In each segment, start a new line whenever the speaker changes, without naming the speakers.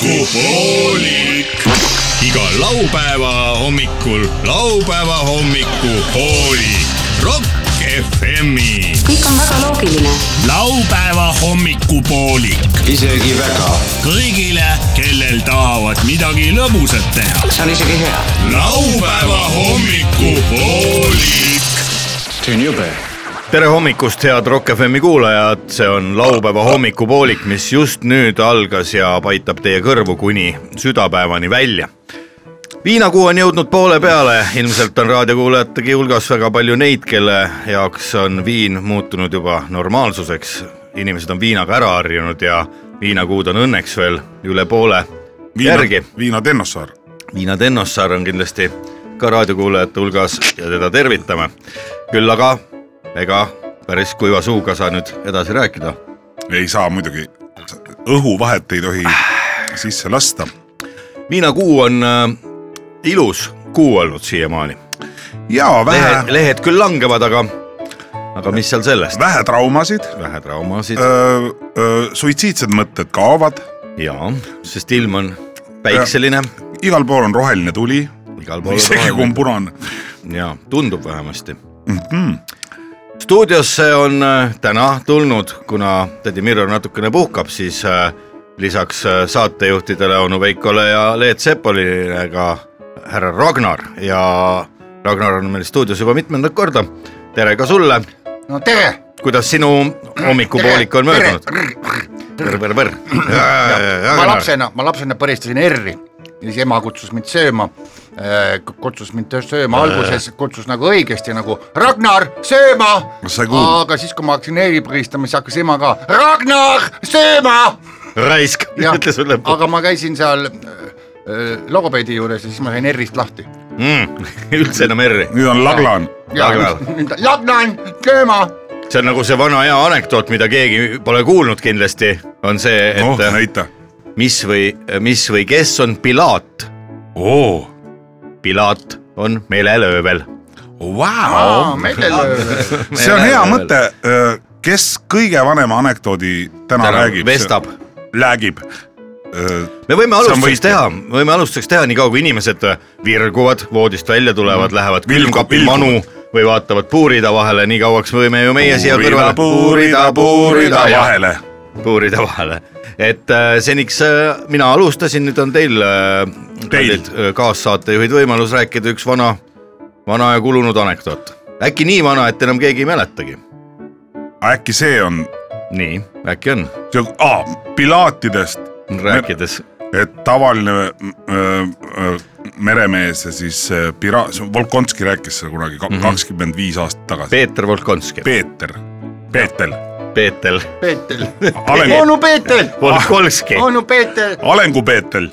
hommikupoolik . iga laupäeva hommikul laupäeva hommikupoolik . Rock FM-i .
kõik on väga loogiline .
laupäeva hommikupoolik
isegi väga .
kõigile , kellel tahavad midagi lõbusat teha .
see on isegi hea .
laupäeva hommikupoolik .
see on jube .
tere hommikust , head Rock FM-i kuulajad , see on laupäeva hommikupoolik , mis just nüüd algas ja paitab teie kõrvu kuni südapäevani välja . viinakuu on jõudnud poole peale , ilmselt on raadiokuulajategi hulgas väga palju neid , kelle jaoks on viin muutunud juba normaalsuseks . inimesed on viinaga ära harjunud ja viinakuud on õnneks veel üle poole
viina,
järgi .
Viina Tennossaar .
Viina Tennossaar on kindlasti ka raadiokuulajate hulgas ja teda tervitame . küll aga ega päris kuiva suuga saa nüüd edasi rääkida .
ei saa muidugi , õhuvahet ei tohi sisse lasta .
viinakuu on äh, ilus kuu olnud siiamaani .
ja vähe
lehed ,, lehed küll langevad , aga , aga mis seal sellest ,
vähe traumasid ,
vähe traumasid
Äh. suitsiidsed mõtted kaovad ,
ja , sest ilm on päikseline ,
igal pool on roheline tuli ,
igal pool
isegi kui on
roheline.
punane .
ja tundub vähemasti mm . -hmm. stuudiosse on äh, täna tulnud , kuna tädi Mirro natukene puhkab , siis äh, lisaks äh, saatejuhtidele onu Veikole ja Leet Sepolile ka härra Ragnar ja Ragnar on meil stuudios juba mitmendat korda . tere ka sulle ,
no tere .
kuidas sinu hommikupoolik on möödunud ? võr-võr-võr .
ma lapsena , ma lapsena põristasin R-i ja siis ema kutsus mind sööma . kutsus mind töö-
Äh.
sööma alguses , kutsus nagu õigesti nagu Ragnar sööma .
Kas sa ei kuulnud?
aga siis , kui ma hakkasin R-i põristama , siis hakkas ema ka Ragnar sööma .
raisk , ütle sulle .
aga ma käisin seal äh, äh, logopeedi juures ja siis ma sain R-ist lahti .
Mm, üldse enam R-i ,
nüüd on laglan ,
Ragnar.
Ragnar sööma .
see on nagu see vana hea anekdoot , mida keegi pole kuulnud kindlasti , on see , et äh,
noh näita .
mis või , mis või kes on Pilaat ?
oo ,
Pilaat on meelelöövel .
vau , see on hea mõte , kes kõige vanema anekdoodi täna räägib .
vestab .
räägib .
me võime
See on
alustuseks
võitja.
teha , võime alustuseks teha niikaua , kui inimesed äh, virguvad , voodist välja
Mm.
tulevad , lähevad
Vilgu-
külmkapi
vilgu.
manu või vaatavad puurida vahele , nii kauaks võime ju meie siia kõrvale
puurida , puurida
ja-
vahele
puurida vahele . et äh, seniks äh, mina alustasin , nüüd on teil, äh,
Teil.
kallid, äh, kaassaatejuhid võimalus rääkida üks vana , vana ja kulunud anekdoot . äkki nii vana , et enam keegi ei mäletagi .
äkki see on ,
nii , äkki on ,
Pilaatidest ,
rääkides
et tavaline öö, öö, meremees ja siis öö, pira- , Volkonski rääkis seda kunagi kakskümmend viis aastat tagasi .
Mhm. Peeter Volkonski ,
Peeter , Peetel ,
Peeter
Ah.
Peetel ,
Alengu ,
onu Peetel ,
Volkonski ,
Ah.
onu Peetel .
Alengu Peetel .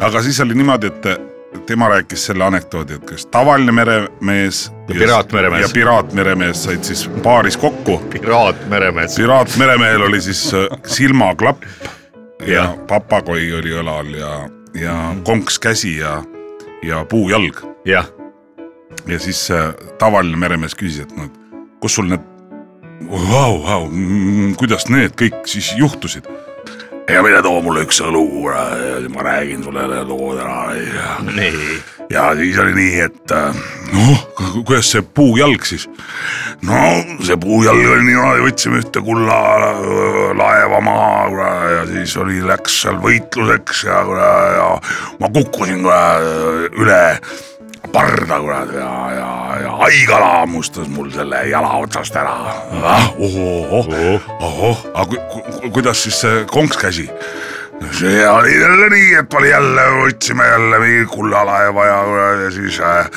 aga siis oli niimoodi , et tema rääkis selle anekdoodi , et kas tavaline meremees
Ja piraatmeremees.
ja piraatmeremees said siis paaris kokku .
piraatmeremees .
piraatmeremehel oli siis öö, silmaklapp
Jah.
ja papagoi oli õlal ja , ja konks käsi ja , ja puujalg
jah ,
ja siis äh, tavaline meremees küsis , et noh , et kus sul need , vau , vau , kuidas need kõik siis juhtusid ? ja mine too mulle üks õlu , ma räägin sulle selle loo täna ja ,
nii ,
ja siis oli nii , et äh, noh , kuidas see puujalg siis . no see puujalg oli niimoodi , võtsime ühte kulla äh, laeva maha kurat, ja siis oli , läks seal võitluseks ja , ja ma kukkusin kurat, üle parda kurat ja , ja , ja haigala hammustas mul selle jala otsast ära . ohoh , ohoh , aga ku, ku, kuidas siis see konks käsi ? see oli jälle nii , et oli jälle , võtsime jälle mingi kullalaeva ja, ja siis äh, .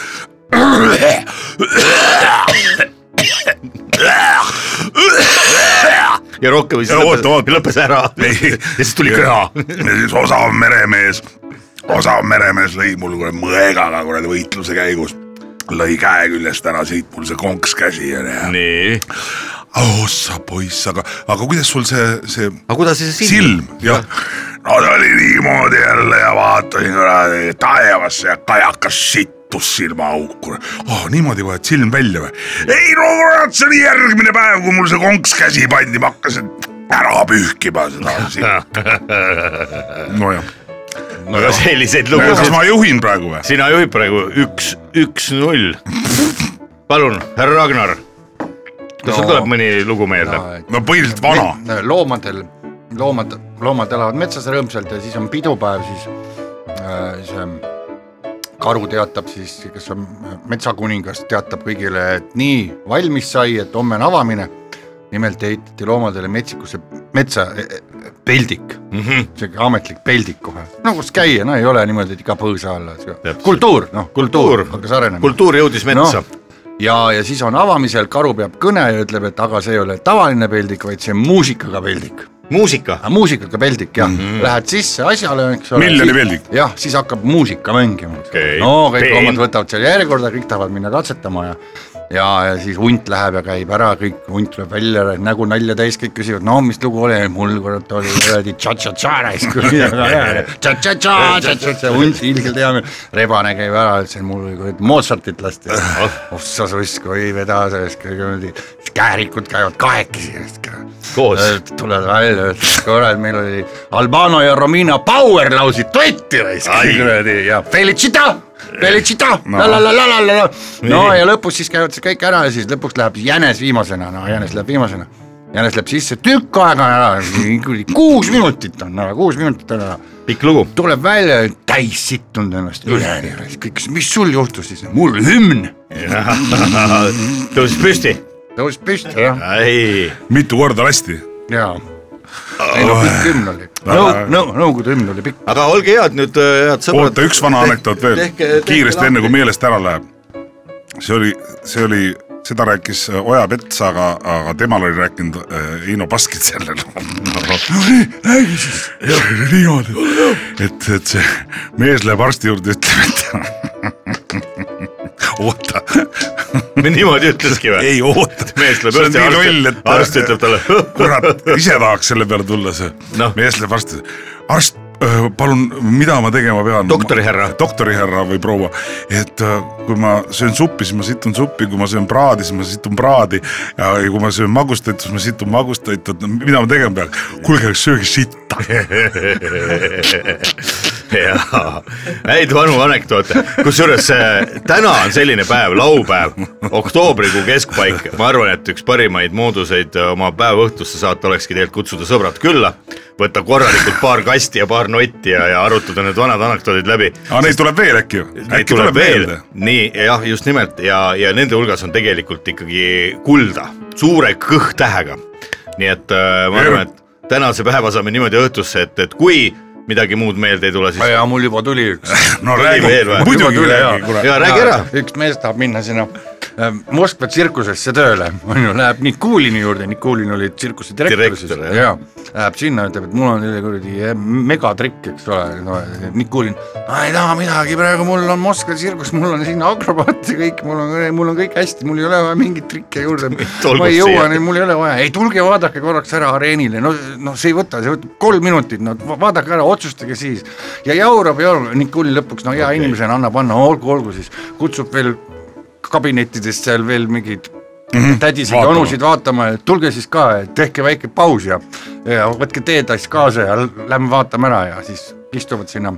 ja rohkem siis
Ja oota,
lõppes ,
oota.
lõppes ära .
Ei.
ja siis tuli köha .
ja siis osav meremees , osav meremees lõi mul kuradi mõegaga kuradi võitluse käigus , lõi käe küljest ära , siit mul see konks käsi oli ja .
nii ,
oh sa poiss , aga , aga kuidas sul see , see
aga kuidas siis
silm , jah . no ta oli niimoodi jälle ja vaatasin kuradi taevasse ja kajakas sittus silmaauku . ah oh, , niimoodi vajad silm välja või ? ei no kurat , see oli järgmine päev , kui mul see konks käsi pandi , ma hakkasin ära pühkima seda sitta . nojah ,
aga selliseid
kas
lugusid
ma juhin praegu või ?
sina juhid praegu üks , üks-null . palun , härra Ragnar . kas sul
No.
tuleb mõni lugu meelde ?
no põhiliselt vana ,
äh, loomadel , loomad , loomad elavad metsas rõõmsalt ja siis on pidupäev , siis äh, see karu teatab siis , kes on äh, metsakuningas , teatab kõigile , et nii valmis sai , et homme on avamine . nimelt ehitati loomadele metsikusse metsa eh, eh, peldik mm , -hmm.
Mhm.
siuke ametlik peldik kohe , no kus käia , no ei ole niimoodi , et iga põõsa alla ,
Täpselt.
kultuur , noh kultuur,
Kultuur.
kultuur. , hakkas arenema .
kultuur jõudis
Noh.
metsa no. .
ja , ja siis on avamisel , karu peab kõne ja ütleb , et aga see ei ole tavaline peldik , vaid see on muusikaga peldik .
muusika ,
muusikaga peldik jah mm , -hmm. lähed sisse asjale , eks ole .
Mhm. Miljoni peldik.
jah , siis hakkab muusika mängima
Okei.
no kõik
Peen.
loomad võtavad seal järjekorda , kõik tahavad minna katsetama ja ja , ja siis hunt läheb ja käib ära , kõik hunt tuleb välja , nägu nalja täis , kõik küsivad , no mis lugu oli , mul kurat oli kuradi tša-tša-tša raisk , tša-tša-tša , tša-tša-tša , hunt ilgelt hea meel , rebane käib ära , ütles , et mul oli kuradi Mozartit lasti , oh sa suisk , oi veda sa suisk , siis käärikud käivad kahekesi Äh,
koos .
tulevad välja , ütlevad kurat , meil oli Albano ja Romina Power lausid totti raisk , kuradi ja Felicita , Felicita no. , la-la-la-la-la-la . no ja lõpus siis käivad siis kõik ära ja siis lõpuks läheb jänes viimasena , no jänes läheb viimasena . jänes läheb sisse , tükk aega on ära , kuus minutit on ära , kuus minutit on ära
pikk lugu .
tuleb välja täis sittunud ennast üleni , kõik , mis sul juhtus siis , mul hümn
tõusis püsti .
tõusis püsti jah ,
ei ,
mitu korda lasti ?
jaa . ei no pikk hümn oli , nõu- , nõu- , nõukogude hümn oli pikk .
aga olge head nüüd , head sõbrad .
oota , üks vana anekdoot veel
tehke- tehke ,
kiiresti ,
lahti.
enne kui meelest ära läheb . see oli , see oli , seda rääkis äh, Oja Pets , aga , aga temal oli rääkinud äh, Heino Baskit sellel . räägi siis . niimoodi , et , et see mees läheb arsti juurde , ütleb , et oota ,
niimoodi ütleski või ?
ei oota .
mees tuleb
see on
õhtul
nii
arsti-
loll , et .
arst ütleb talle,
kurat , ise tahaks selle peale tulla see
Noh.
no. . mees läheb arsti , arst , palun , mida ma tegema pean ?
Doktorihärra.
doktorihärra või proua , et öö, kui ma söön suppi , siis ma situn suppi , kui ma söön praadi , siis ma situn praadi . ja ja kui ma söön magustoitu , siis ma situn magustoitu , et mida ma tegema pean ? kuulge , sööge sitta .
jaa , häid vanu anekdoote , kusjuures äh, täna on selline päev , laupäev , oktoobrikuu keskpaik , ma arvan , et üks parimaid mooduseid äh, oma päevaõhtusse saata olekski tegelikult kutsuda sõbrad külla , võtta korralikult paar kasti ja paar notti ja , ja arutada need vanad anekdoodid läbi .
aga Ah, neid tuleb veel äkki ju ?
Neid
äkki tuleb meelde ?.
nii jah , just nimelt ja , ja nende hulgas on tegelikult ikkagi kulda suure kõhtähega . nii et äh, ma arvan , et tänase päeva saame niimoodi õhtusse , et , et kui midagi muud meelde ei tule , siis
ja mul juba tuli üks .
no
Tuli
räägi
veel või? ,
muidugi
Tuli, jaa.
räägi , kurat .
ja räägi ära .
üks mees tahab minna sinna äh, Moskva tsirkusesse tööle , onju , läheb Nikulini juurde , Nikulin oli tsirkuse direktor siis
Direktor,
ja läheb sinna , ütleb , et mul on selline kuradi eh, megatrikk , eks ole , no Nikulin , ei taha midagi praegu , mul on Moskva tsirkus , mul on siin akrobaat ja kõik , mul on , mul on kõik hästi , mul ei ole vaja mingit trikke juurde ,
olgu
ma ei jõua
siia.
neid , mul ei ole vaja , ei tulge vaadake korraks ära areenile , no , no see ei võta , see võtab kolm minutit , no va- vaadake ära , otsustage siis . ja jaurab , jaurab , Nikul lõpuks , no hea okay. inimesena annab , anna , olgu , olgu siis , kutsub veel kabinettidest seal veel mingeid tädisid ,
vaatama.
onusid vaatama , et tulge siis ka , tehke väike paus ja , ja võtke teetass kaasa ja l- lähme vaatame ära ja siis istuvad sinna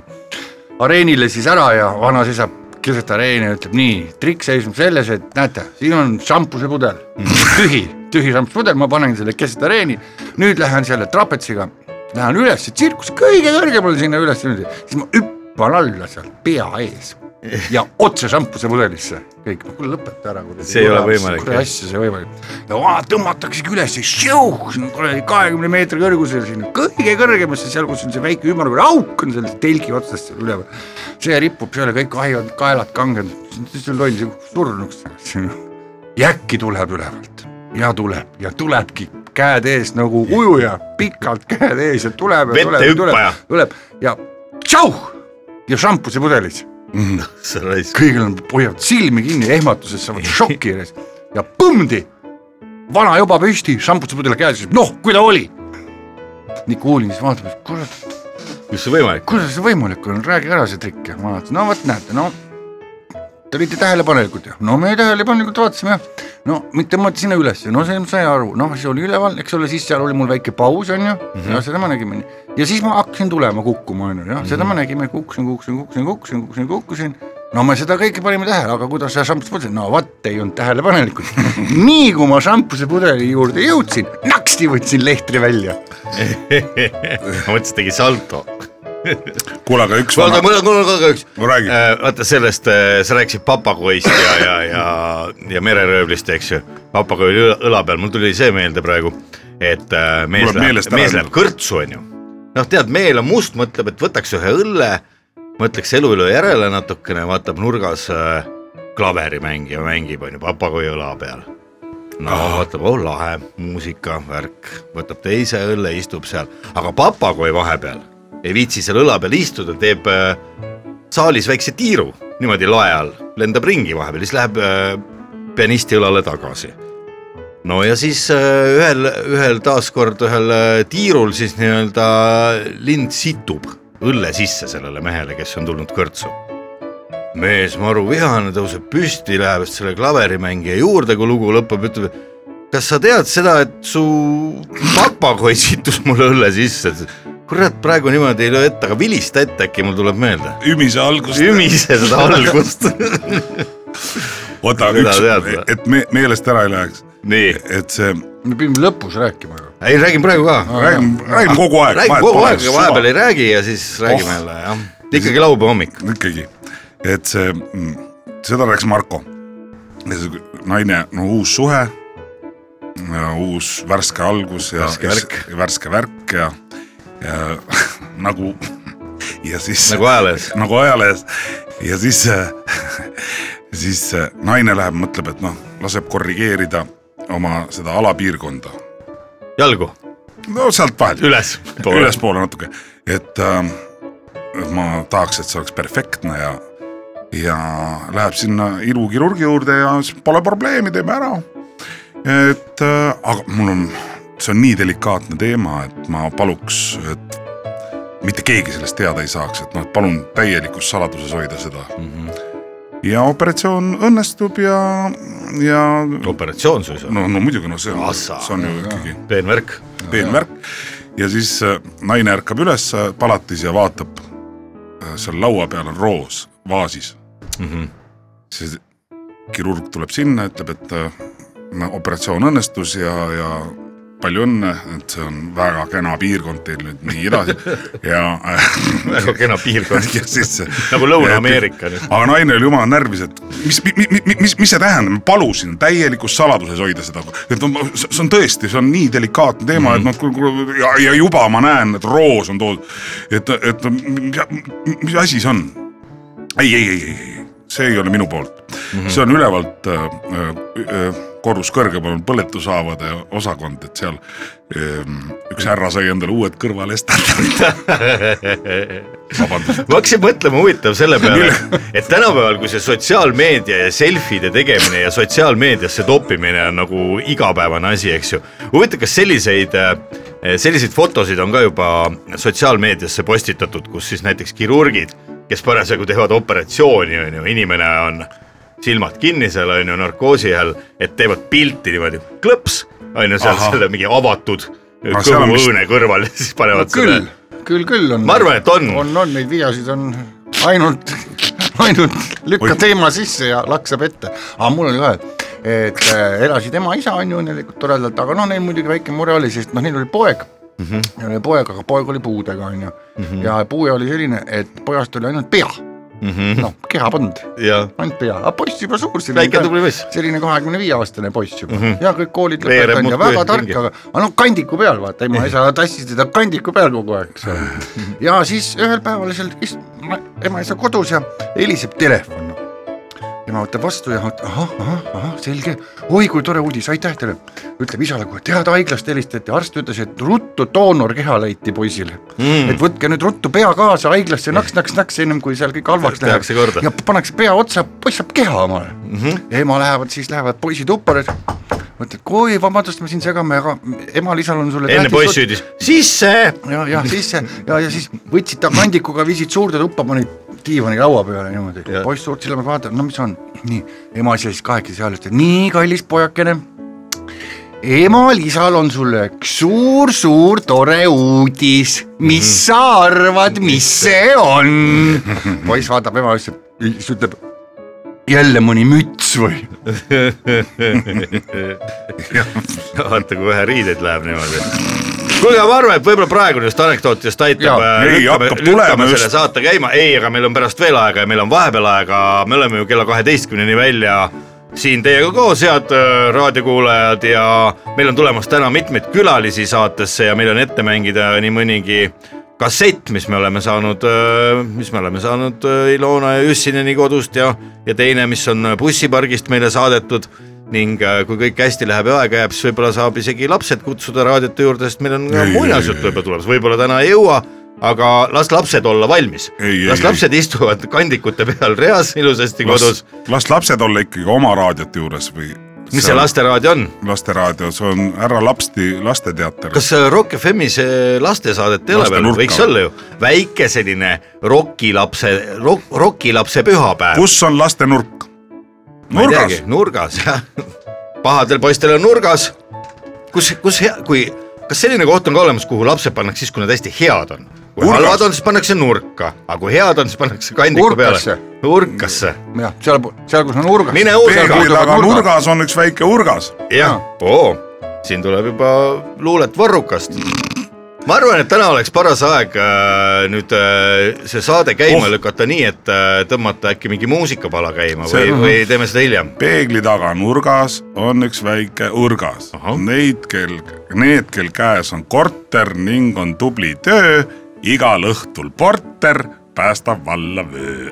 areenile siis ära ja vana seisab keset areeni ja ütleb nii , trikk seisneb selles , et näete , siin on šampusepudel , tühi , tühi šampusepudel , ma panen selle keset areeni , nüüd lähen selle trapetsiga , lähen üles , tsirkus kõige kõrgemale sinna üles , siis ma hüppan alla seal pea ees ja otse šampusepudelisse , kõik , kuule lõpeta ära .
See ei ole võimalik, jah.
kuradi asja see võimalik . ja vaat tõmmataksegi üles , kuradi kahekümne meetri kõrgusel sinna kõige kõrgemasse , seal kus on see väike ümmargune auk on sellest telgi otsast seal üleval . see ripub seal ja kõik vahivad kaelad kanged , mis sul loll , surnuks saaks sinna . ja äkki tuleb ülevalt ja tuleb ja tulebki käed ees nagu ujuja , pikalt käed ees ja tuleb ja
Vette
tuleb ja
hüppaja.
tuleb , tuleb ja tšau ja šampusepudelis
sa raisk .
kõigil on , hoiavad silmi kinni ehmatuses , saavad šoki ees ja põmdi , vana juba püsti , šampusepudel käes , noh , kui ta oli . nii kuulin , siis vaatan , kurat ,
mis see võimalik ?
kuidas see võimalik on , räägi ära see trikk ja ma vaatasin , no vot näete , no te olite tähelepanelikud ja no me tähelepanelikult vaatasime jah , no mind tõmmati sinna ülesse , no see ma sain aru , noh , see oli üleval , eks ole , siis seal oli mul väike paus , on ju mm , -hmm. ja seda ma nägime . ja siis ma hakkasin tulema kukkuma , on ju , jah , seda ma nägime , kukkusin , kukkusin , kukkusin , kukkusin , kukkusin , kukkusin . no me seda kõike panime tähele , aga kuidas sa šampusepudeli , no vot , ei olnud tähelepanelikud . nii kui ma šampusepudeli juurde jõudsin , naksti võtsin lehtri välja .
ma mõtlesin , tegi salto .
kuule , aga üks
oota ,
vana ,
mul on , mul on ka üks .
No räägi.
Äh, vaata sellest , sa rääkisid papagoist ja , ja , ja , ja mereröövlist , eks ju . papagoi oli õla- õla peal , mul tuli see meelde praegu , et äh, mees
Tuleb meelest
läheb ,
ära
mees
jäänud.
läheb kõrtsu , onju . noh , tead , meel on must , mõtleb , et võtaks ühe õlle , mõtleks elu üle järele natukene , vaatab nurgas äh, klaverimängija mängib , onju , papagoi õla peal no
Ah.
vaatab , oh lahe muusika , värk , võtab teise õlle , istub seal , aga papagoi vahepeal ei viitsi seal õla peal istuda , teeb äh, saalis väikse tiiru niimoodi lae all , lendab ringi vahepeal , siis läheb äh, pianisti õlale tagasi . no ja siis äh, ühel , ühel taaskord ühel äh, tiirul siis nii-öelda lind situb õlle sisse sellele mehele , kes on tulnud kõrtsu mees maru vihane , tõuseb püsti , läheb selle klaverimängija juurde , kui lugu lõpeb , ütleb , kas sa tead seda , et su papagoi situs mulle õlle sisse , kurat , praegu niimoodi ei löö ette , aga vilista ette , äkki mul tuleb meelde .
ümise algust .
ümise seda algust . Seda
oota , üks
tead või? ,
et me meelest ära ei läheks ,
nii ,
et see ,
me pidime lõpus rääkima ju .
ei räägin praegu ka ,
räägime , räägime kogu aeg .
Ah, räägin kogu aeg , aga vahepeal ei räägi ja siis räägime jälle oh. , jah . ikkagi laupäeva hommik ,
ikkagi , et see , seda rääkis Marko . naine , no uus suhe , uus värske algus ja
Värske värk.
ja värske värk ja , ja nagu ja siis
nagu ajalehes .
nagu ajalehes ja siis , siis äh, naine läheb , mõtleb , et noh , laseb korrigeerida oma seda alapiirkonda ,
jalgu
no sealt vahelt
üles .
ülespoole natuke , et ähm, ma tahaks , et see oleks perfektne ja , ja läheb sinna ilukirurgi juurde ja siis pole probleemi , teeme ära . et äh, aga mul on , see on nii delikaatne teema , et ma paluks , et mitte keegi sellest teada ei saaks , et noh , et palun täielikus saladuses hoida seda mm . -hmm. ja operatsioon õnnestub ja , ja no,
operatsioon suisa ,
no muidugi , no see on ,
Assa.
see on ju ikkagi
peen värk .
peen värk ja siis äh, naine ärkab üles äh, palatis ja vaatab , seal laua peal on roos vaasis mm . -hmm. siis kirurg tuleb sinna , ütleb , et äh, no operatsioon õnnestus ja , ja palju õnne , et see on väga kena piirkond teil nüüd nii edasi ja äh,
väga kena piirkond ,
ja siis
nagu Lõuna-Ameerika nüüd .
aga naine oli jumala närvis , et mis , mis , mis , mis see tähendab , ma palusin täielikus saladuses hoida seda , et on, see on tõesti , see on nii delikaatne teema
Mhm.
mm , -hmm. et noh , ja, ja juba ma näen , et roos on toodud , et , et mis, mis asi see on ? ei , ei , ei , ei , ei , see ei ole minu poolt mm ,
Mhm.
-hmm. see on ülevalt äh, äh, korrus kõrgemal on põletushaavade osakond , et seal äh, üks härra sai endale uued kõrvalestandardid , vabandust .
ma hakkasin mõtlema huvitav selle peale , et tänapäeval , kui see sotsiaalmeedia ja selfide tegemine ja sotsiaalmeediasse toppimine on nagu igapäevane asi , eks ju . huvitav , kas selliseid , selliseid fotosid on ka juba sotsiaalmeediasse postitatud , kus siis näiteks kirurgid , kes parasjagu teevad operatsiooni , on ju , inimene on silmad kinni seal on ju narkoosi all , et teevad pilti niimoodi klõps , on ju seal
Ahah.
selle mingi avatud
Aga seal on vist-
kõhuõõne kõrval ja siis panevad selle
küll , küll , küll on .
ma arvan , et on,
on , on neid videosid on ainult , ainult lükka
Oi.
teema sisse ja laksab ette . aga mul oli ka , et , et äh, elasid ema-isa on ju õnnelikult toredalt , aga noh , neil muidugi väike mure oli , sest noh , neil oli poeg mm .
Mhm.
-hmm. Neil oli poeg , aga poeg oli puudega on ju mm . -hmm. ja puue oli selline , et pojast oli ainult pea mm -hmm. .
Mhm.
noh , keha polnud
ja
ainult pea , aga poiss juba suur ,
Väike tubli poiss. Mhm.
selline kahekümne viie aastane poiss juba mm -hmm. ja kõik koolid
Veereb
lõpetanud ja
muudkui
väga tark ,
ringi.
aga , aga noh kandiku peal vaata , ema isa tassis teda kandiku peal kogu aeg , eks ole . ja siis ühel päeval seal ist- , ema isa kodus ja heliseb telefon no. ema võtab vastu ja mõtleb ahah , ahah , ahah , selge , oi kui tore uudis , aitäh teile . ütleb isale kohe , tead haiglast helistati , arst ütles , et ruttu doonorkeha leiti poisile mm. . et võtke nüüd ruttu pea kaasa haiglasse naks , naks , naks , ennem kui seal kõik halvaks läheb
Tehakse korda. .
ja pannakse pea otsa , poiss saab keha omale mm .
Mhm.
-hmm. ema lähevad , siis lähevad poisi tuppa nüüd , mõtled , oi vabandust , me siin segame , aga emal-isal on sulle
enne
tähtis
poiss
jutt-
süüdis sisse .
ja , ja sisse ja , ja siis võtsid ta kandikuga , viisid suurde tuppa , panid
diivani laua peale niimoodi
Jah. ,
poiss suurt silmaga vaatab , no mis on , nii , ema seisis kahekesi seal , ütleb nii kallis pojakene , emal-isal on sulle üks suur-suur tore uudis , mis
Mhm.
sa arvad , mis see on ? poiss vaatab ema üldse , siis ütleb jälle mõni müts või ?
vaata , kui vähe riideid läheb niimoodi . kuulge , aga ma arvan , et võib-olla praegusest anekdootidest aitab äh,
Jaa, .
ei, hakkab
lükkame
tulema
selle
just.
saate käima , ei , aga meil on pärast veel aega ja meil on vahepeal aega , me oleme ju kella kaheteistkümneni välja siin teiega koos , head äh, raadiokuulajad ja meil on tulemas täna mitmeid külalisi saatesse ja meil on ette mängida nii mõnigi kassett , mis me oleme saanud , mis me oleme saanud äh, Ilona ja Jüssineni kodust ja , ja teine , mis on bussipargist meile saadetud ning äh, kui kõik hästi läheb ja aega jääb , siis võib-olla saab isegi lapsed kutsuda raadiote juurde , sest meil on ka
Ei,
muinasjutt võib-olla tulemas , võib-olla täna ei jõua , aga las lapsed olla valmis
Ei, .
las
ei,
lapsed istuvad kandikute peal reas ilusasti kodus .
las lapsed olla ikkagi oma raadiote juures või .
mis see ? lasteraadio on ?
lasteraadio , see on härra Lapsti lasteteater .
kas äh, Rock FM-is äh, lastesaadet ei ole veel ,
Lastenurka
võiks
või?
olla ju , väike selline rokilapse , rok- , rokilapse pühapäev .
kus on lastenurk ? nurgas ,
nurgas jah , pahadel poistel on nurgas . kus , kus , kui , kas selline koht on ka olemas , kuhu lapsed pannakse siis , kui nad hästi head on ? kui
Nurgas.
halvad on , siis pannakse nurka , aga kui head on , siis pannakse kandiku
Nurkasse.
peale . nurkasse ,
jah , seal , seal , kus on nurgas .
mine urga .
peeglil aga
nurgas.
nurgas on üks väike urgas .
jah , oo , siin tuleb juba luulet Varrukast . ma arvan , et täna oleks paras aeg äh, nüüd äh, see saade käima
Oh.
oh. lükata nii , et äh, tõmmata äkki mingi muusikapala käima
See- Mhm.
või , või teeme seda hiljem .
peegli taga nurgas on üks väike urgas . Neid , kel , need , kel käes on korter ning on tubli töö , igal õhtul porter päästab valla vöö .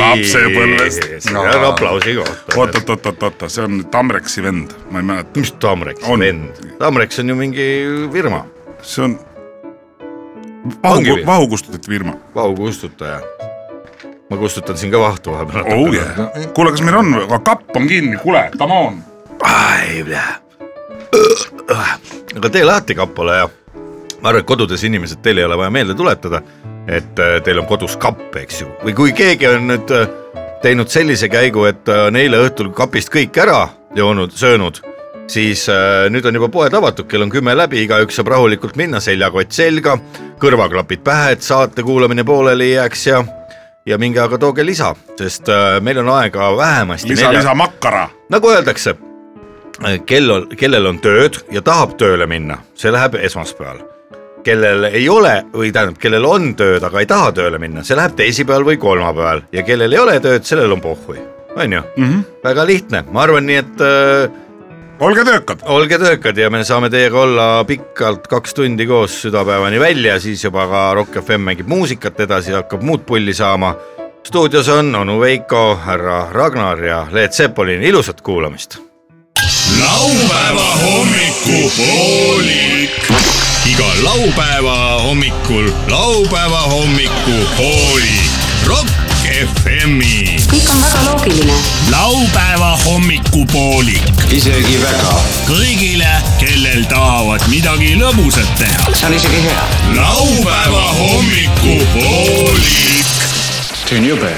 Lapsepõlvest.
see on
No.
aplausi koht .
oot-oot-oot-oot , see on Tamreksi vend , ma ei mäleta ,
mis Tamreks
On.
vend , Tamreks on ju mingi firma ,
see on
Ongi
vahu
või? ,
vahukustutati firma .
vahukustutaja . ma kustutan siin ka vahtu vahepeal .
oh yeah , kuule , kas meil on , aga kapp on kinni , kuule , come on .
ai , aga tee lahti kapole ja ma arvan , et kodudes inimesed , teil ei ole vaja meelde tuletada , et äh, teil on kodus kapp , eks ju , või kui keegi on nüüd äh, teinud sellise käigu , et äh, on eile õhtul kapist kõik ära joonud , söönud , siis äh, nüüd on juba poed avatud , kell on kümme läbi , igaüks saab rahulikult minna , seljakott selga , kõrvaklapid pähe , et saate kuulamine pooleli ei jääks ja ja minge aga tooge lisa , sest äh, meil on aega vähemasti
lisa , lisa makkara .
nagu öeldakse , kel on , kellel on tööd ja tahab tööle minna , see läheb esmaspäeval . kellel ei ole või tähendab , kellel on tööd , aga ei taha tööle minna , see läheb teisipäeval või kolmapäeval ja kellel ei ole tööd , sellel on pohhui , on ju mm . -hmm. väga lihtne , ma arvan nii , et äh,
olge töökad .
olge töökad ja me saame teiega olla pikalt kaks tundi koos südapäevani välja , siis juba ka Rock FM mängib muusikat edasi , hakkab muud pulli saama . stuudios on onu Veiko , härra Ragnar ja Leet Sepolin , ilusat kuulamist
laupäeva hommikupoolik . iga laupäeva hommikul laupäeva hommikupoolik . Rock FM-i .
kõik on väga loogiline .
laupäeva hommikupoolik
isegi väga .
kõigile , kellel tahavad midagi lõbusat teha .
see on isegi hea .
laupäeva hommikupoolik .
see on jube .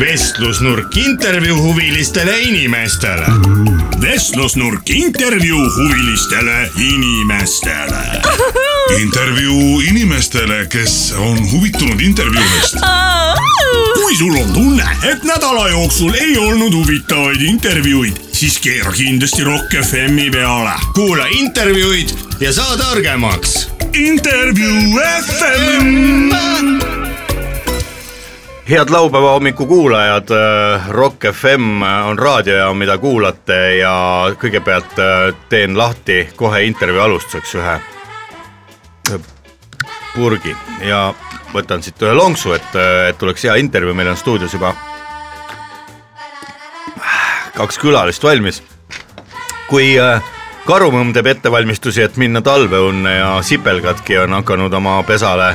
vestlusnurk intervjuu huvilistele inimestele . vestlusnurk intervjuu huvilistele inimestele .
intervjuu inimestele , kes on huvitunud intervjuudest .
kui sul on tunne , et nädala jooksul ei olnud huvitavaid intervjuuid , siis keera kindlasti Rock FM-i peale . kuula intervjuud ja saa targemaks . intervjuu FM .
head laupäeva hommiku kuulajad , Rock FM on raadiojaam , mida kuulate ja kõigepealt äh, teen lahti kohe intervjuu alustuseks ühe ühe purgi ja võtan siit ühe lonksu , et , et oleks hea intervjuu , meil on stuudios juba kaks külalist valmis . kui äh, karumõmm teeb ettevalmistusi , et minna talveunne ja sipelgadki on hakanud oma pesale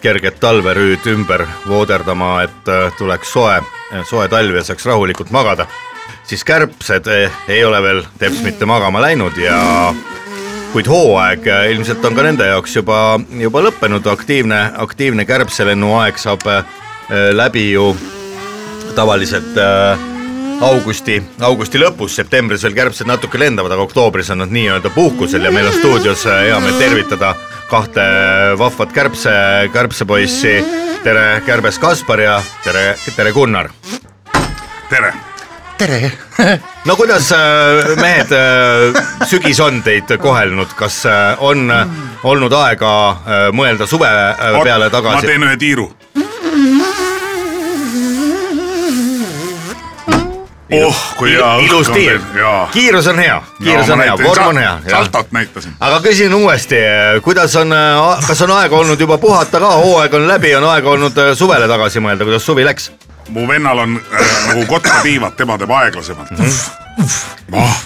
kerget talverüüd ümber vooderdama , et äh, tuleks soe , soe talv ja saaks rahulikult magada , siis kärbsed eh, ei ole veel teps mitte magama läinud ja kuid hooaeg äh, ilmselt on ka nende jaoks juba , juba lõppenud , aktiivne , aktiivne kärbselennuaeg saab äh, läbi ju tavaliselt äh, augusti , augusti lõpus , septembris veel kärbsed natuke lendavad , aga oktoobris on nad nii-öelda puhkusel ja meil on stuudios äh, hea meel tervitada kahte vahvat kärbse , kärbsepoissi . tere , kärbes Kaspar ja tere , tere Gunnar
tere .
no kuidas äh, mehed , sügis on teid kohelnud , kas äh, on äh, olnud aega äh, mõelda suve äh, peale
ma
tagasi ?
teen ühe tiiru . oh , kui hea õhk
ilus
on
tiir
teil. jaa .
kiirus on hea , kiirus on hea , vorm on hea .
saltot näitasin .
aga küsin uuesti , kuidas on , kas on aega olnud juba puhata ka , hooaeg on läbi , on aega olnud äh, suvele tagasi mõelda , kuidas suvi läks ?
mu vennal on äh, nagu kotkatiivad , tema teeb aeglasemalt . oh ,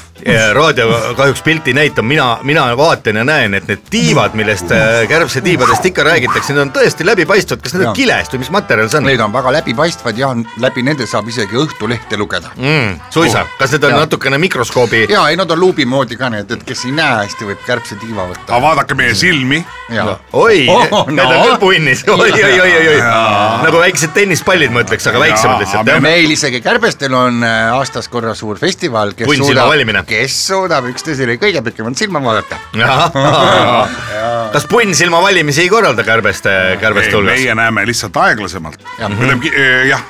raadio kahjuks pilti ei näita , mina , mina vaatan ja näen , et need tiivad , millest äh, kärbsetiibadest ikka räägitakse , need on tõesti läbipaistvad , kas need on
Jaa.
kilest või mis materjal see on ?
Need on väga läbipaistvad ja on- läbi nende saab isegi Õhtulehte lugeda .
mm, . suisa , kas need on
Jaa.
natukene mikroskoobi ?
ja ei , nad on luubi moodi ka need , et kes ei näe hästi , võib kärbsetiiva võtta .
aga vaadake meie silmi .
ja ,
oi
Oh,
oh, , need on
no.
lõpuinnis , oi , oi , oi , oi , oi , nagu väiksed tennispallid , ma ütleks , aga väiksemad
Jaa,
lihtsalt
aga
jah .
meil isegi kärbestel on äh, aastas korra suur festival , kes
Punnsilma valimine.
suudab , kes suudab üksteisele kõige pikemalt silma vaadata .
kas punnsilma valimisi ei korralda kärbeste , kärbeste hulgas ?
meie näeme lihtsalt aeglasemalt .
Jah.
eh, jah .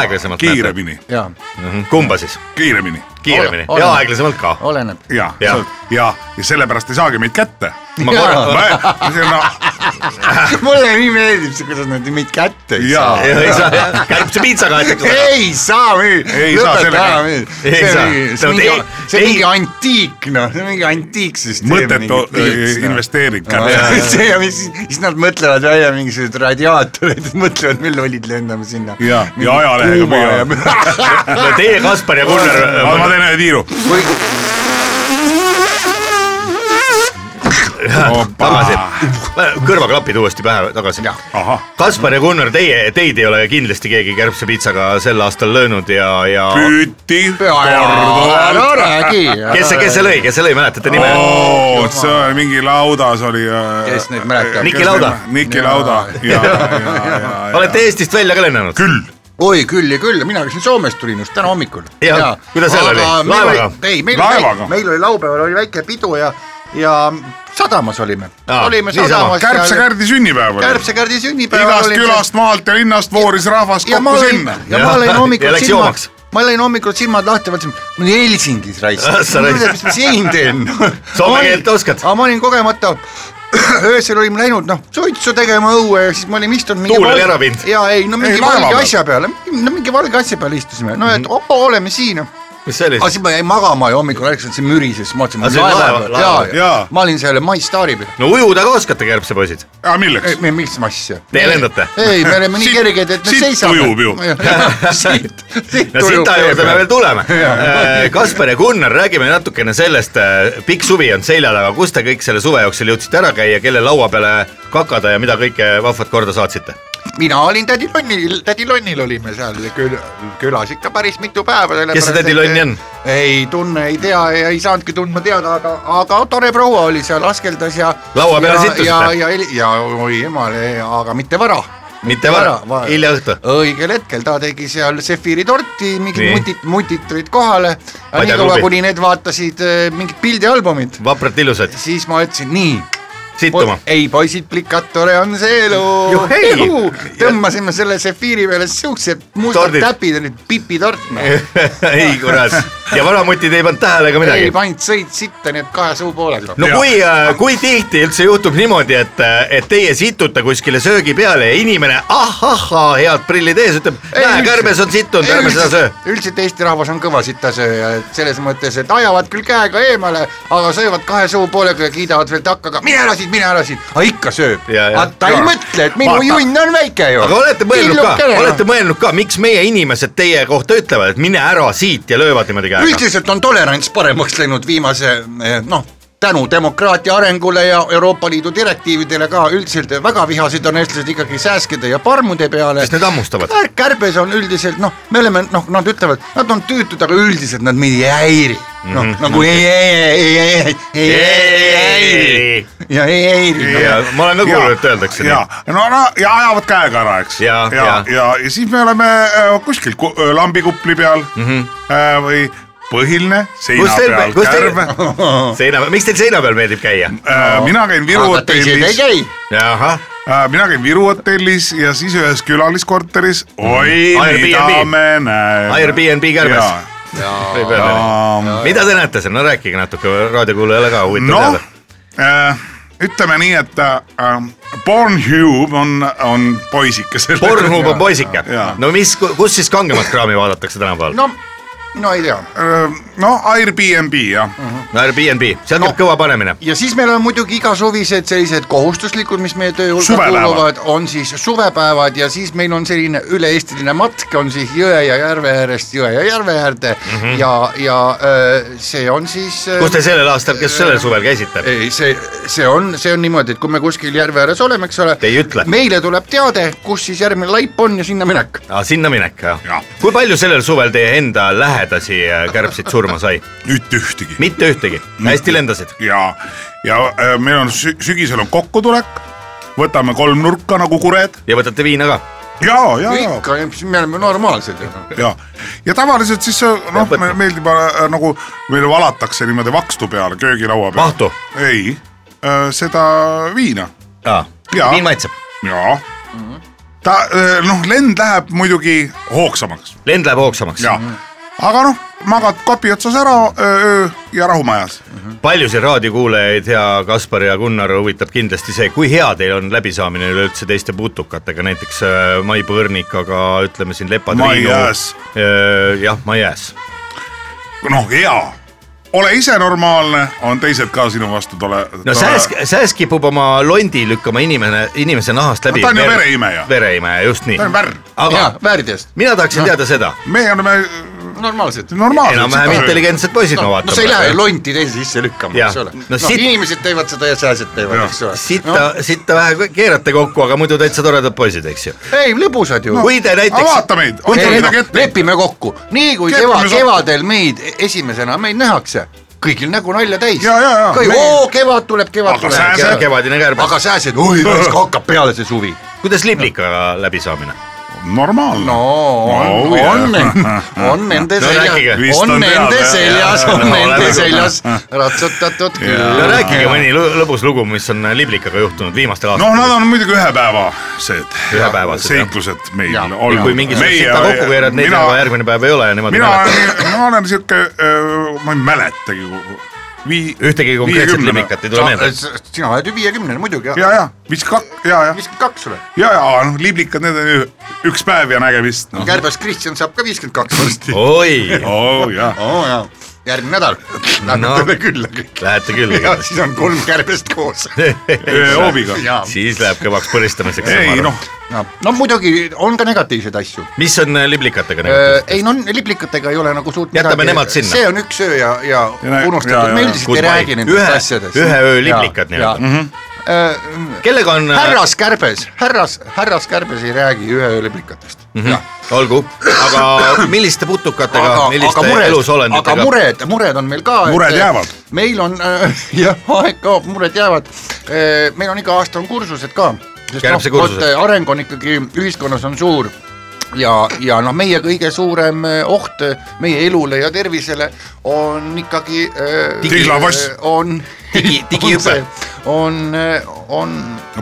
Aeglasemalt
kiiremini ,
ja
Mhm. kumba siis ?
kiiremini
kiiremini
Ole- ole.
ja aeglasemalt ka .
oleneb .
ja ,
Jah.
ja , ja sellepärast ei saagi meid kätte .
ma korra ,
mulle nii meeldib see , kuidas nad meid kätte ei
Jaa.
saa .
ei saa , käib see piitsakaart .
ei saa müü- ,
Ei saa
lõpeta
sellega.
ära müü- .
Ei
see
saa.
on mingi , see
No
on mingi
ei- , ei-
see on mingi antiik noh , see on mingi antiiksüsteem .
mõttetu äh, investeering kätte .
see ja mis , siis nad mõtlevad välja mingisugused radiaatorid , mõtlevad , me lollid lendame sinna .
ja , ja ajalehega püüavad .
Teie , Kaspar ja
aga ma
Gunnar ,
teen ühe tiiru .
tagasi , kõrvaklapid uuesti pähe tagasi
ahah ,
Kaspar ja Gunnar , teie , teid ei ole kindlasti keegi kärbsepiitsaga sel aastal löönud ja , ja
püüti
ära
korduvalt .
räägi .
kes see , kes see lõi , kes see lõi , mäletate nime ?
oot , see oli mingi laudas oli .
Kes neid mäletab?
Niki Lauda.
Niki Lauda ja , ja , ja , ja .
olete Eestist välja ka lennanud ?
küll ,
oi küll ja küll , mina käisin Soomest tulin just täna hommikul .
Jah, kuidas seal oli? Laevaga?
ei , meil
Laevaga?
oli , meil oli laupäeval oli väike pidu ja , ja sadamas olime .
Aa,
olime
niisama.
sadamas .
Kärbse-Kärdi sünnipäev oli .
Kärbsekärdi sünnipäeval
igast külast , maalt ja linnast vooris rahvas
ja ma
kokku
lõin
sinna .,
ja
Jah.
ma lõin
Ja
hommikul
läks
silmad
joomaks. ,
ma lõin hommikul silmad lahti , mõtlesin , ma olin Helsingis raisk
Ah, . sa raisk- ?
mis ma siin teen
Soome keelt oskad?
aga ma olin kogemata öösel olime läinud noh suitsu tegema õue ja siis me olime istunud mingi
Tuul oli
valge-
ära viinud.
jaa ei no mingi
Ei,
ei,
laeva
valge
peal.
asja peale , no mingi valge asja peale istusime , no
Mhm.
et oo oleme siin noh
mis see oli
aga ? siis ma jäin magama ja hommikul ärkasin , see mürises , ma mõtlesin ,
Aga see oli laeva- laeva-
jaa.
ma olin seal My Stari peal ,
no ujuda ka oskate , kärbsepoisid ?
aga milleks ?
mis asja .
Te lendate ?
ei , me oleme nii
Siit-
kerged , et me
siit
seisame .
ujub ju. .
siit , siit
no sita juurde me veel . tuleme . Kaspar ja Gunnar , räägime natukene sellest , pikk suvi on seljal , aga kus te kõik selle suve jooksul jõudsite ära käia , kelle laua peale kakada ja mida kõike vahvat korda saatsite ?
mina olin tädi Lonnil , tädi Lonnil olime seal küll , külas ikka päris mitu päeva .
Kes see tädi Lonn on? ?
ei tunne , ei tea ja ei saanudki tundma teada , aga , aga tore proua oli seal , askeldas ja .
Laua peale sittusite?
ja , ja , ja, ja oi emal , aga mitte vara .
Mitte vara, hilja õhtul.
õigel hetkel ta tegi seal sefiiri torti ,
Nii.
mingid mutid , mutid tulid kohale . niikaua ,
Padjaklubi.
kuni need vaatasid eh, mingit pildialbumit ,
vapralt ilusad ,
siis ma ütlesin nii
sittuma .
Po- ei poisid , plikat , tore on see elu
Juhei! .
tõmbasime selle sefiiri peale siuksed mustad
Tordid.
täpid olid pipitort no. .
ei kurat , ja vanamutid ei pannud tähele ka midagi
ei . pannud sõid sitta , nii et kahe suu poolega
no kui , kui tihti üldse juhtub niimoodi , et , et teie situte kuskile söögi peale ja inimene ahahhaa , head prillid ees , ütleb , näe , kärbes on sittunud , ärme seda söö .
üldiselt Eesti rahvas on kõva sitasööja , et selles mõttes , et ajavad küll käega eemale , aga söövad kahe suu poolega ja kiidavad veel takkaga , mine ära siit , mine ära siit , aga ikka sööb .
Ja, ja.
aga ta ei mõtle , et minu
Vaata.
junn on väike ju .
aga olete mõelnud ka , olete mõelnud ka , miks meie inimesed teie kohta ütlevad , et mine ära siit ja löövad niimoodi käega ?
üldiselt on tolerants paremaks läinud viimase eh, noh , tänu demokraatia arengule ja Euroopa Liidu direktiividele ka üldiselt väga vihased on eestlased ikkagi sääskede ja parmude peale .
Sest need hammustavad.
kärbes on üldiselt noh , me oleme noh , nad ütlevad , nad on tüütud , aga üldiselt nad meid ei häiri . noh , nagu ei , ei , ei , ei , ei , ei , ei , ei , ei ja ei häiri .
ja ma olen ka kuulnud , et nagu öeldakse nii
ja , no , no ja ajavad käega ära , eks .
Ja,
ja,
ja.
ja, ja, ja siis me oleme äh, kuskil ku, äh, lambikupli peal mm -hmm. äh, või põhiline seina
Mhm. Kus teil-
peal ,
kus teil-
kärbe .
seina , miks teil seina peal meeldib käia ?
Äh, mina käin Viru
aga teised ei
hotellis ,
käi .
ahah ,
äh, mina käin Viru hotellis ja siis ühes külaliskorteris , oi ,
Mhm. Airbnb.
mida me näeme .
Airbnb kärbes. võib öelda .
ja
mida te näete seal , no rääkige natuke , raadiokuulajale ka huvitav
noh
teada .,
äh, ütleme nii , et äh, Pornhub on , on poisikesel .
Pornhub on poisike
jaa. ,
no mis , kus siis kangemat kraami vaadatakse tänapäeval no. ?
no , no ei tea
Äh, no Airbnb jah mm . -hmm.
Airbnb , seal käib no. kõva panemine .
ja siis meil on muidugi igasuvised sellised kohustuslikud , mis meie töö hulka
Suvepäevad.
kuuluvad , on siis suvepäevad ja siis meil on selline üle-eestiline matk , on siis jõe ja järve äärest jõe ja järve äärde mm -hmm. ja , ja öö, see on siis .
Mhm. kus te sellel aastal , kes sellel suvel käisite ?
ei , see , see on , see on niimoodi , et kui me kuskil järve ääres oleme , eks ole .
Te ei ütle.
meile tuleb teade , kus siis järgmine laip on ja sinna minek .
Ah, sinna minek , jah
Jah. .
kui palju sellel suvel teie enda lähedasi äh, kärbseid surma sai ?
mitte ühtegi .
mitte ühtegi , hästi lendasid .
ja , ja äh, meil on sü- sügisel on kokkutulek , võtame kolmnurka nagu kured
ja võtate viina ka ,
ja , ja , ja ,
ikka , me oleme normaalsed ju
ja , ja tavaliselt siis äh, noh
Peab , võtma.
meeldib äh, nagu meile valatakse niimoodi vakstu peale , köögilaua peale .
vahtu .
ei , seda viina Jaa.
nii maitseb ,
ja ta äh, noh , lend läheb muidugi hoogsamaks
lend läheb hoogsamaks .
ja , aga noh , magad kapi otsas ära öö, öö, ja rahumajas .
paljusid raadiokuulajaid , hea Kaspar ja Gunnar , huvitab kindlasti see , kui hea teil on läbisaamine üleüldse teiste putukatega , näiteks äh, Mai Põrnikaga , ütleme siin Lepad äh,
Mai Jääs. .
jah , Mai Jääs .
noh , hea , ole ise normaalne , on teised ka sinu vastu tole .
no Sääsk , Sääsk kipub oma londi lükkama inimene , inimese nahast läbi
No ta on ju vereimeja.
vereimeja , just nii
ta on . värv ,
aga
ja värdjast ,
mina tahaksin teada seda ,
meie oleme
normaalsed .
enam-vähem
normaalsed .
intelligentsed poisid ma
no sa ei lähe
vaatan .
lonti teise sisse lükkama ,
Jah.
eks ole .
No
noh no, ,
sit-
inimesed teevad seda ja sääsed teevad ,
Jah.
eks ole .
sitta ,
Noh.
sitta vähe keerate kokku , aga muidu täitsa toredad poisid , eks ju .
ei , lõbusad ju no, .
kui te
aga
näiteks ,
vaata meid ,
Ei,
võta
ei, noh,
midagi ette .
lepime kokku , nii kui
Lepime
keva,
kokku.
kevadel meid e-, esimesena meid nähakse , kõigil nägu nalja täis .
Ja, ja, ja.
kõik ,
Meie-
oo kevad tuleb , kevad
Aga
tuleb
sääsed- .
kevadine kärbes ,
aga sääsed , oi , raisk hakkab peale see suvi .
kuidas liblikaga läbisaamine ?
normaalne .
no on , on , on nende
No rääkige.
seljas ,
Vist
on
on
nende
teada, jah.
seljas , on
No,
nende
oleme-
seljas ratsutatud
no
küll .
rääkige mõni lõ- lõbus lugu , mis on liblikaga juhtunud viimastel
noh ,
aastatel
nad on muidugi ühepäevased .
Ühepäevased, jah.
seiklused meil
Jah.
olnud .
kui mingisugust sita kokku keerad , neid
mina
juba , järgmine päev ei ole ja nemad ei
mina
mäleta .
olen , ma olen sihuke , ma ei mäletagi . Vii,
ühtegi konkreetset
viiekümnene.
liblikat ei tule meelde .
sina oled ju viiekümnene muidugi ,
ja , ja , mis kak- , ja , ja ,
viiskümmend kaks oled .
ja , ja noh , liblikad , need on ju üks päev ja noh. nägemist no. .
kärbes Kristjan saab ka viiskümmend kaks varsti .
Oh, oi ,
oo jah ,
oo jaa , järgmine nädal lähme külla kõik .
lähete küll
ja
igatahes .
siis on kolm kärbest koos .
hoobiga .
jaa .
siis läheb kõvaks põristamiseks .
ei noh ,
no muidugi on ka negatiivseid asju .
mis on äh, liblikatega negatiivset ?
ei no liblikatega ei ole nagu suurt
Jätame nemad sinna.
see on üks öö ja , ja
Ja nä- jaa,
unustatud ,
jaa,
me
jaa.
üldiselt ei
Goodbye.
räägi nendest
Ühe-
asjadest .
ühe öö liblikad nii-öelda. Äh,
nii-öelda .
kellega on ?
härras Kärbes , härras , härras Kärbes ei räägi ühe öö liblikatest .
Mhm. olgu , aga milliste putukatega , milliste
aga
elusolenditega ?
mured , mured on meil ka .
Mured jäävad.
meil on äh, jah , aeg kaob , mured jäävad . meil on iga aasta on kursused ka .
Kärbsekursused.
äh, areng on ikkagi ühiskonnas on suur ja , ja noh , meie kõige suurem äh, oht äh, meie elule ja tervisele on ikkagi äh,
Digi- Tiglavass.
äh, on
Digi- digihüpe.
on , on ,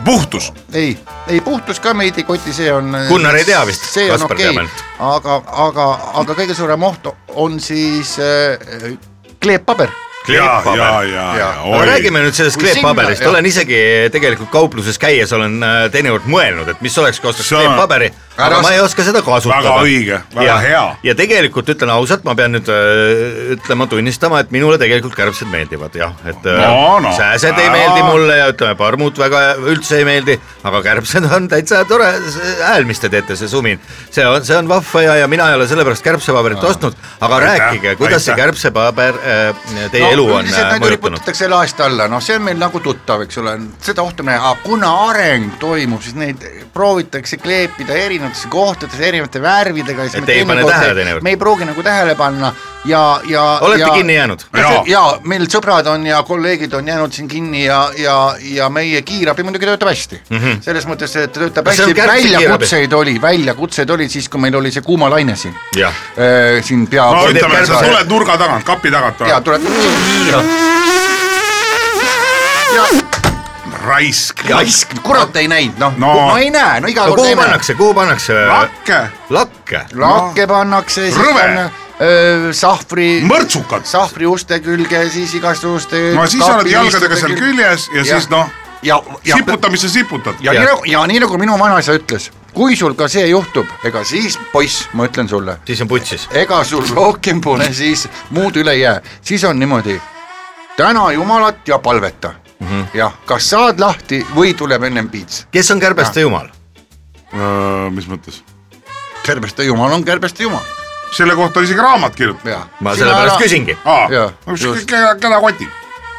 puhtus ,
ei , ei puhtus ka meid ei koti , see on .
Gunnar ei tea vist,
see on
Kaspar
okei
teab
okay.
ainult. ,
aga , aga , aga kõige suurem oht on siis äh, kleeppaber .
ja , ja , ja ,
kleeppaber .
ja,
Jaa.
ja ,
aga räägime nüüd sellest
Kui sinna-
kleeppaberist ,
jah.
olen isegi tegelikult kaupluses käies olen äh, teinekord mõelnud , et mis oleks , kui ostaks
See on-
kleeppaberi , aga
Ära-
ma ei oska seda kasutada .
väga õige , väga
ja,
hea .
ja tegelikult ütlen ausalt , ma pean nüüd öö, ütlema , tunnistama , et minule tegelikult kärbsed meeldivad jah , et öö,
No, no.
sääsed ei
Aa.
meeldi mulle ja ütleme , parmud väga üldse ei meeldi , aga kärbsed on täitsa tore see hääl , mis te teete , see sumin . see on , see on vahva ja , ja mina ei ole sellepärast kärbsepaberit ostnud , aga
Aitäh,
rääkige , kuidas see
aitäh.
kärbsepaber öö, teie elu on äh,
üldiselt neid
mõjutanud .
riputatakse laest alla , noh , see on meil nagu tuttav , eks ole , seda ohtu me , aga kuna areng toimub , siis neid proovitakse kleepida erinevatesse kohtadesse , erinevate värvidega .
Et ei pane tähele teinekord.
me ei pruugi nagu tähele panna ja , ja .
olete
ja,
kinni jäänud ?
Jaa.
ja, ja meil sõbrad on ja kolleegid on jäänud siin kinni ja , ja , ja meie kiirabi muidugi töötab hästi mm . -hmm. selles mõttes , et töötab
Kas Mhm. see on
hästi ,
Kärtsi
väljakutseid oli , väljakutseid oli siis , kui meil oli see kuumalaine siin Äh,
Jah. .
siin pea .
no ütleme , sa tuled nurga tagant , kapi tagant ,
ja tuled .
raisk , Noh,
raisk ,
kurat ei näinud , noh
No.
no. , ma ei näe , no iga
no
kord
kuhu
ei näe .
pannakse , kuhu pannakse äh,
lakke ,
lakke ?
lakke pannakse , siis
Rõve.
on sahvri ,
mõrtsukad .
sahvriuste külge , siis igasuguste .
no siis oled jalgadega seal küljes ja siis noh ,
ja , ja ,
siputamisse siputad .
ja nii nagu , ja nii nagu minu vanaisa ütles , kui sul ka see juhtub , ega siis poiss , ma ütlen sulle ,
siis on putsis .
ega sul rohkem pole siis muud üle ei jää , siis on niimoodi . täna Jumalat ja palveta mm
Mhm.
-hmm. jah , kas saad lahti või tuleb ennem piits .
kes on kärbeste jumal ?
mis mõttes ?
kärbeste Jumal on kärbeste Jumal ,
selle kohta on isegi raamat kirjutatud .
jah .
ma sellepärast . küsingi .
aa
Jaa, ,
ükskõik keda , keda kotib .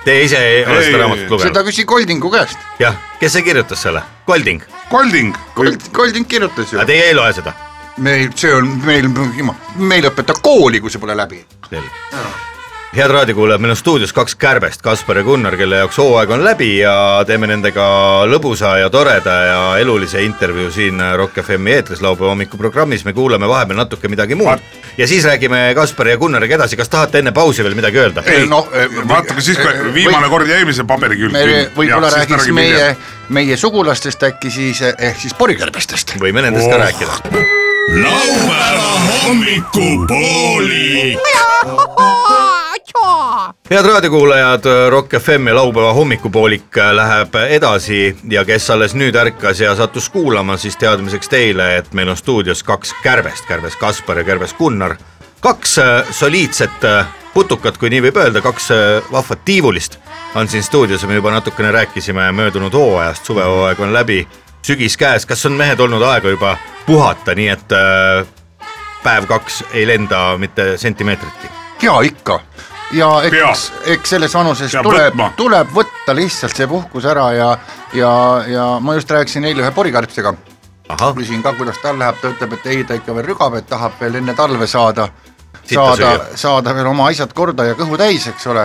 Te ise ei ole
Ei,
seda raamatut
seda
lugenud ?
küsi Koldingu käest ,
jah , kes see kirjutas selle ? Golding ,
Kolding .
Kold , Kolding kirjutas ju
aga . teie ei loe seda ?
meil , see on meil , meil õpetab kooli , kui see pole läbi .
selge . head raadiokuulajad , meil on stuudios kaks kärbest , Kaspar ja Gunnar , kelle jaoks hooaeg on läbi ja teeme nendega lõbusa ja toreda ja elulise intervjuu siin Rock FM-i eetris laupäeva hommikuprogrammis , me kuulame vahepeal natuke midagi muud ja siis räägime Kaspari ja Gunnariga edasi , kas tahate enne pausi veel midagi öelda ?
ei
noh, ,
vaata , kui siis , kui viimane kord jäi meil see paberi külge .
me võib-olla räägiks meie , meie sugulastest äkki siis , ehk siis porikärbestest .
võime nendest ka
Oh.
rääkida .
laupäeva hommikupoolik .
head raadiokuulajad , Rock FM ja laupäeva hommikupoolik läheb edasi ja kes alles nüüd ärkas ja sattus kuulama , siis teadmiseks teile , et meil on stuudios kaks kärbest , kärbes Kaspar ja kärbes Gunnar . kaks äh, soliidset äh, putukat , kui nii võib öelda , kaks äh, vahvat tiivulist on siin stuudios ja me juba natukene rääkisime möödunud hooajast , suvehooaeg on läbi , sügis käes , kas on mehed olnud aega juba puhata , nii et äh, päev-kaks ei lenda mitte sentimeetritki ?
ja ikka ja eks
Peab. ,
eks selles vanuses
Peab
tuleb
võtma. ,
tuleb võtta lihtsalt see puhkus ära ja , ja , ja ma just rääkisin eile ühe porikärbsega
ahah ,
küsin ka , kuidas tal läheb , ta ütleb , et ei , ta ikka veel rügab , et tahab veel enne talve saada ,
Sita
saada
süüa. ,
saada veel oma asjad korda ja kõhu täis , eks ole .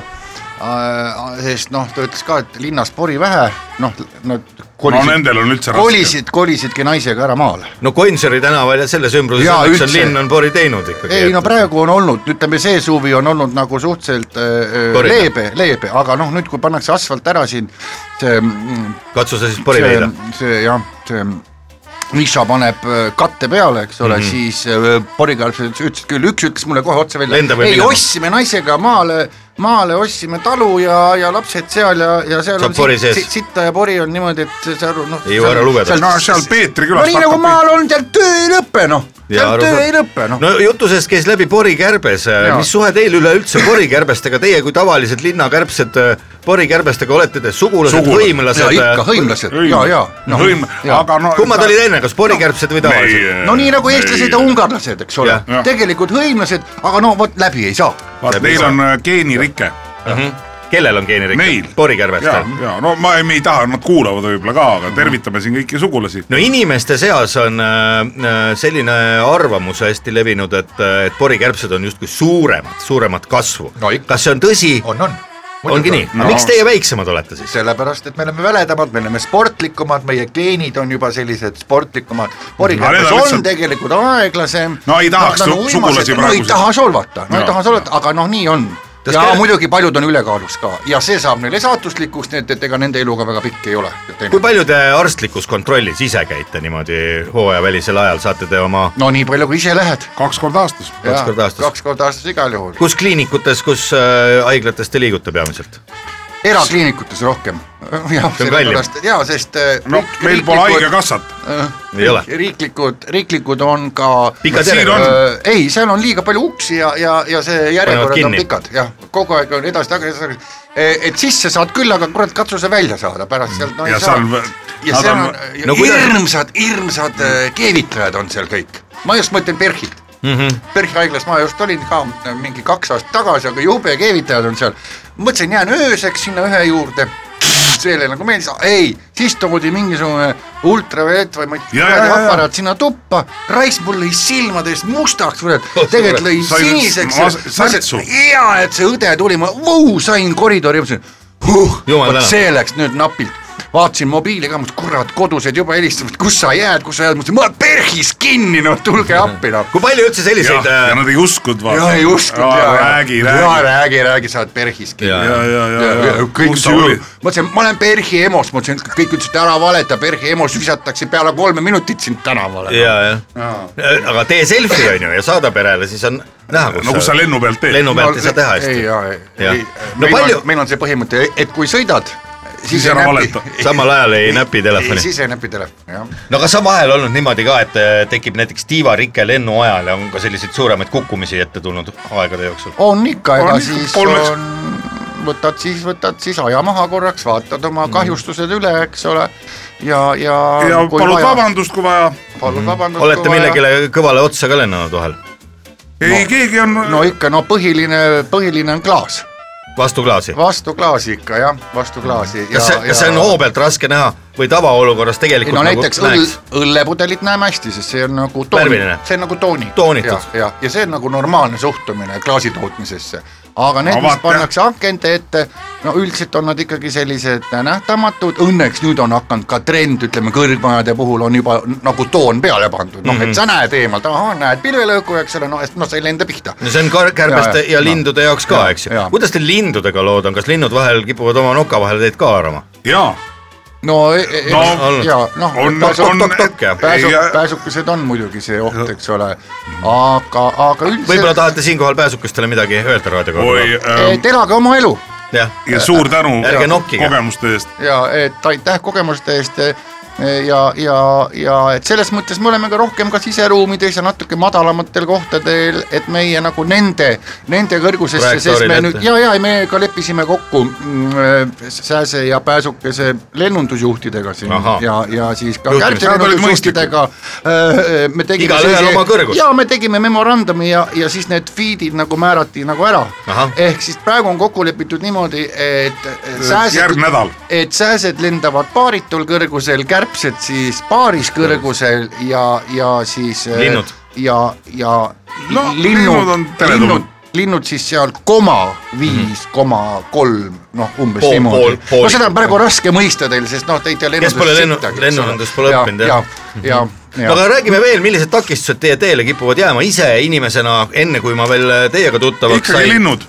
sest noh , ta ütles ka , et linnas pori vähe , noh , nad
no
kolisid ,
nendel on üldse raske .
kolisid , kolisidki naisega ära maale .
no Gonsiori tänaval ja selles ümbruses
Jaa,
õnneks on
üldse.
linn on pori teinud ikkagi .
ei no . praegu on olnud , ütleme see suvi on olnud nagu suhteliselt öö, öö,
Torine.
leebe , leebe , aga noh , nüüd kui pannakse asfalt ära siin , see mm,
katsu sa siis pori
see-
leida .
see jah , see Miša paneb öö, katte peale , eks ole mm ,
Mhm.
-hmm. siis porikarps ütles küll , üks ütles mulle kohe otse välja
Lendame ,
ei
minema.
ostsime naisega maale , maale ostsime talu ja , ja lapsed seal ja , ja seal
Saab pori
sit-
sees.
sit- sitta ja pori on niimoodi , et sa aru noh .
Ei jõua ära lugeda.
no seal Peetri
no
külas .
nii nagu maal on , seal töö ei lõpe noh ,
Jaa,
seal töö
arusaadav.
ei lõpe noh .
no jutu seest käis läbi porikärbes , mis suhe teil üleüldse porikärbestega , teie kui tavalised linnakärbsed äh, porikärbestega olete te sugulased,
Sugulased.
sugulased. , äh,
ja ikka
hõimlased ?
hõimlased ja , ja
noh . hõim , aga no .
kummad olid enne , kas porikärbsed või tavalised ?
no nii nagu eestlased ja . ungarlased , eks ole
Jah. ,
tegelikult hõimlased , aga no vot läbi ei saa .
vaata , neil on äh, geenirike
Mhm. kellel on geenirikkad
Meil. ? ja
porikärbestel ,.
ja no ma , me ei taha , nad kuulavad võib-olla ka , aga tervitame siin kõiki sugulasi .
no inimeste seas on äh, äh, selline arvamus hästi levinud , et , et porikärbsed on justkui suuremad , suuremat kasvu
No ikka.
kas see on tõsi ?
on , on .
ongi nii ,
No.
miks teie väiksemad olete siis ?
sellepärast , et me oleme väledamad , me oleme sportlikumad , meie geenid on juba sellised sportlikumad .
need
porikärbes
on
on
lihtsalt-
tegelikult aeglasem .
No ei tahaks su- sugulasi
no ei
praegu-
taha solvata , no ei
Jaa.
taha solvata , aga noh , nii on
Kas
ja
teil-
muidugi paljud on ülekaalus ka ja see saab neile saatuslikuks , nii et , et ega nende eluga väga pikk ei ole .
kui palju te arstlikus kontrollis ise käite niimoodi hooajavälisel ajal , saate te oma ,
no nii palju , kui ise lähed .
kaks korda aastas .
Kaks korda aastas.
kaks korda aastas igal juhul ,
kus kliinikutes , kus äh, haiglates te liigute peamiselt ?
erakliinikutes rohkem . jah ,
kallim.
sellepärast , jaa , sest eh,
no meil pole . haigekassat .
ei ole ?
Äh, riiklikud , riiklikud on ka
Pikad
Siin
järjekorrad
on. .
Öö, ei , seal on liiga palju uksi ja , ja , ja see järjekorrad on
kinni.
pikad , jah , kogu aeg on edasi-tagasi , edasi-tagasi . E, et sisse saad küll , aga kurat , katsu sa välja saada , pärast sealt no
Ja
ei
seal
saa
vä- .
ja
nad
seal
on-
on ja
No kuidas-
hirmsad , hirmsad öö, keevitajad on seal kõik , ma just mõtlen PERH-it mm -hmm. PERH-i haiglas ma just olin ka äh, mingi kaks aastat tagasi , aga jube keevitajad on seal ,
mõtlesin , jään ööseks sinna ühe juurde .
seele nagu meeldis , ei , siis toodi mingisugune ultraviolett või ma ei
Ja, ja, ja,
tea ,
ja.
aparaat sinna tuppa , raisk mul lõi silmade eest mustaks , kurat , tegelikult lõi
Sai mas-
siniseks
särtsu. .
hea , et see õde tuli , ma vau , sain koridori , mõtlesin , huh ,
Jumal
vot
tänatud.
see läks nüüd napilt vaatasin mobiili ka , mõtlesin , kurat , kodused juba helistavad , kus sa jääd , kus sa jääd , mõtlesin , ma olen perhis kinni , noh , tulge appi , noh .
kui palju üldse selliseid
ja
äh,
nad ei uskunud
ja ei uskunud ja , ja
räägi ,
ja
räägi .
räägi , räägi , sa oled perhis kinni .
ja,
ja ,
ja.
ja , ja ,
Ja- ja
ja .
kõik ütlesid , mõtlesin , ma olen Perhi EMO-s , mõtlesin , kõik ütlesid ära valeta , Perhi EMO-s visatakse peale kolme minutit sind tänavale .
ja , ja , Äh, aga tee selfie on ju ja saada perele , siis on näha , kus
no kus sa lennu pealt teed ?
lennu pealt ei saa teha
ei ,
hästi .
ja ,
Jah.
ei ,
No palju-
meil on see põhimõte , et kui sõidad , siis
siis
ei
ära
näpi
valeta .,
samal ajal ei näpi telefoni .
siis ei näpi telefoni , jah .
no kas on vahel olnud niimoodi ka , et äh, tekib näiteks tiivarike lennu ajal ja on ka selliseid suuremaid kukkumisi ette tulnud aegade jooksul ?
on ikka , ega
On ikka,
siis
kolmeks-
on , võtad siis , võtad siis aja maha korraks , vaatad oma kahjustused üle , eks ole , ja , ja
Mm. ja
kui
palud Mm.
vaja-
vabandust , kui vaja .
palud vabandust .
olete millegile kõvale otsa ka lennanud vahel ?
ei , keegi on .
no ikka , no põhiline , põhiline on klaas ,
vastu klaasi ?
vastu klaasi ikka jah , vastu klaasi .
kas see , kas see on hoo pealt raske näha või tavaolukorras
ei
tegelikult
no näiteks
nagu
õll
näeks ?,
õllepudelit näeme hästi , sest see on nagu tooni
Värviline. ,
see on nagu tooni .
Toonitud.
ja , ja , ja see on nagu normaalne suhtumine klaasi tootmisesse . aga need ,
No
mis
vaata.
pannakse akende ette , no üldiselt on nad ikkagi sellised nähtamatud , õnneks nüüd on hakanud ka trend , ütleme kõrgmajade puhul on juba n- nagu toon peale pandud ,
Mhm.
noh , et sa näed eemalt , ahah , näed pilvelõõku , eks ole , noh , noh , sa ei lenda pihta .
no see on kar- kärbeste ja,
Ja,
ja,
ja,
ja lindude jaoks ka ,
Ja,
eks ju
ja. .
kuidas teil lindudega lood on , kas linnud vahel kipuvad oma noka vahel teid ka haarama ?
jaa ,
no, e- e-
No,
ja noh ,
on- on-
jah.
pääsu
Ei, ja- ,
pääsukesed on muidugi see oht , eks ole , aga , aga
võib-olla
üldiselt
tahate siinkohal pääsukestele midagi öelda
oi
raadioga ?
ähm,
et elage oma Eh, elu
jah ,
ja suur tänu
Ärge nokkige.
kogemuste eest .
ja et aitäh kogemuste eest e, ja , ja , ja et selles mõttes me oleme ka rohkem ka siseruumides ja natuke madalamatel kohtadel , et meie nagu nende , nende kõrgusesse , sest me
Trajektoorile
nüüd
ette.
ja , ja me ka leppisime kokku mm, Sääse ja Pääsukese lennundusjuhtidega siin
Ahah.
ja , ja siis ka
Juhtimis-
Kärti
Nad olid
lennundusjuhtidega äh, me tegime
Igalühel oma kõrgus.
ja me tegime memorandumi ja , ja siis need feed'id nagu määrati nagu ära
Ahah. .
ehk siis praegu on kokku lepitud niimoodi , et et sääsed
järgmine nädal .
et sääsed lendavad paaritul kõrgusel , kärbsed siis paaris kõrgusel ja , ja siis äh,
Linnud.
ja , ja
No, linnud on teretulnud.
linnud , linnud siis seal koma viis , koma kolm , noh umbes
Mhm. Pool- pool-
niimoodi .
poolik.
no seda on praegu raske mõista teil , sest noh , te ei tea lennundust
pole lennu- lennundust pole õppinud, jah. Mhm.
jah . ja , ja ,
aga räägime veel , millised takistused teie teele kipuvad jääma ise inimesena , enne kui ma veel äh, teiega tuttavaks Äh,
Ikkagi linnud.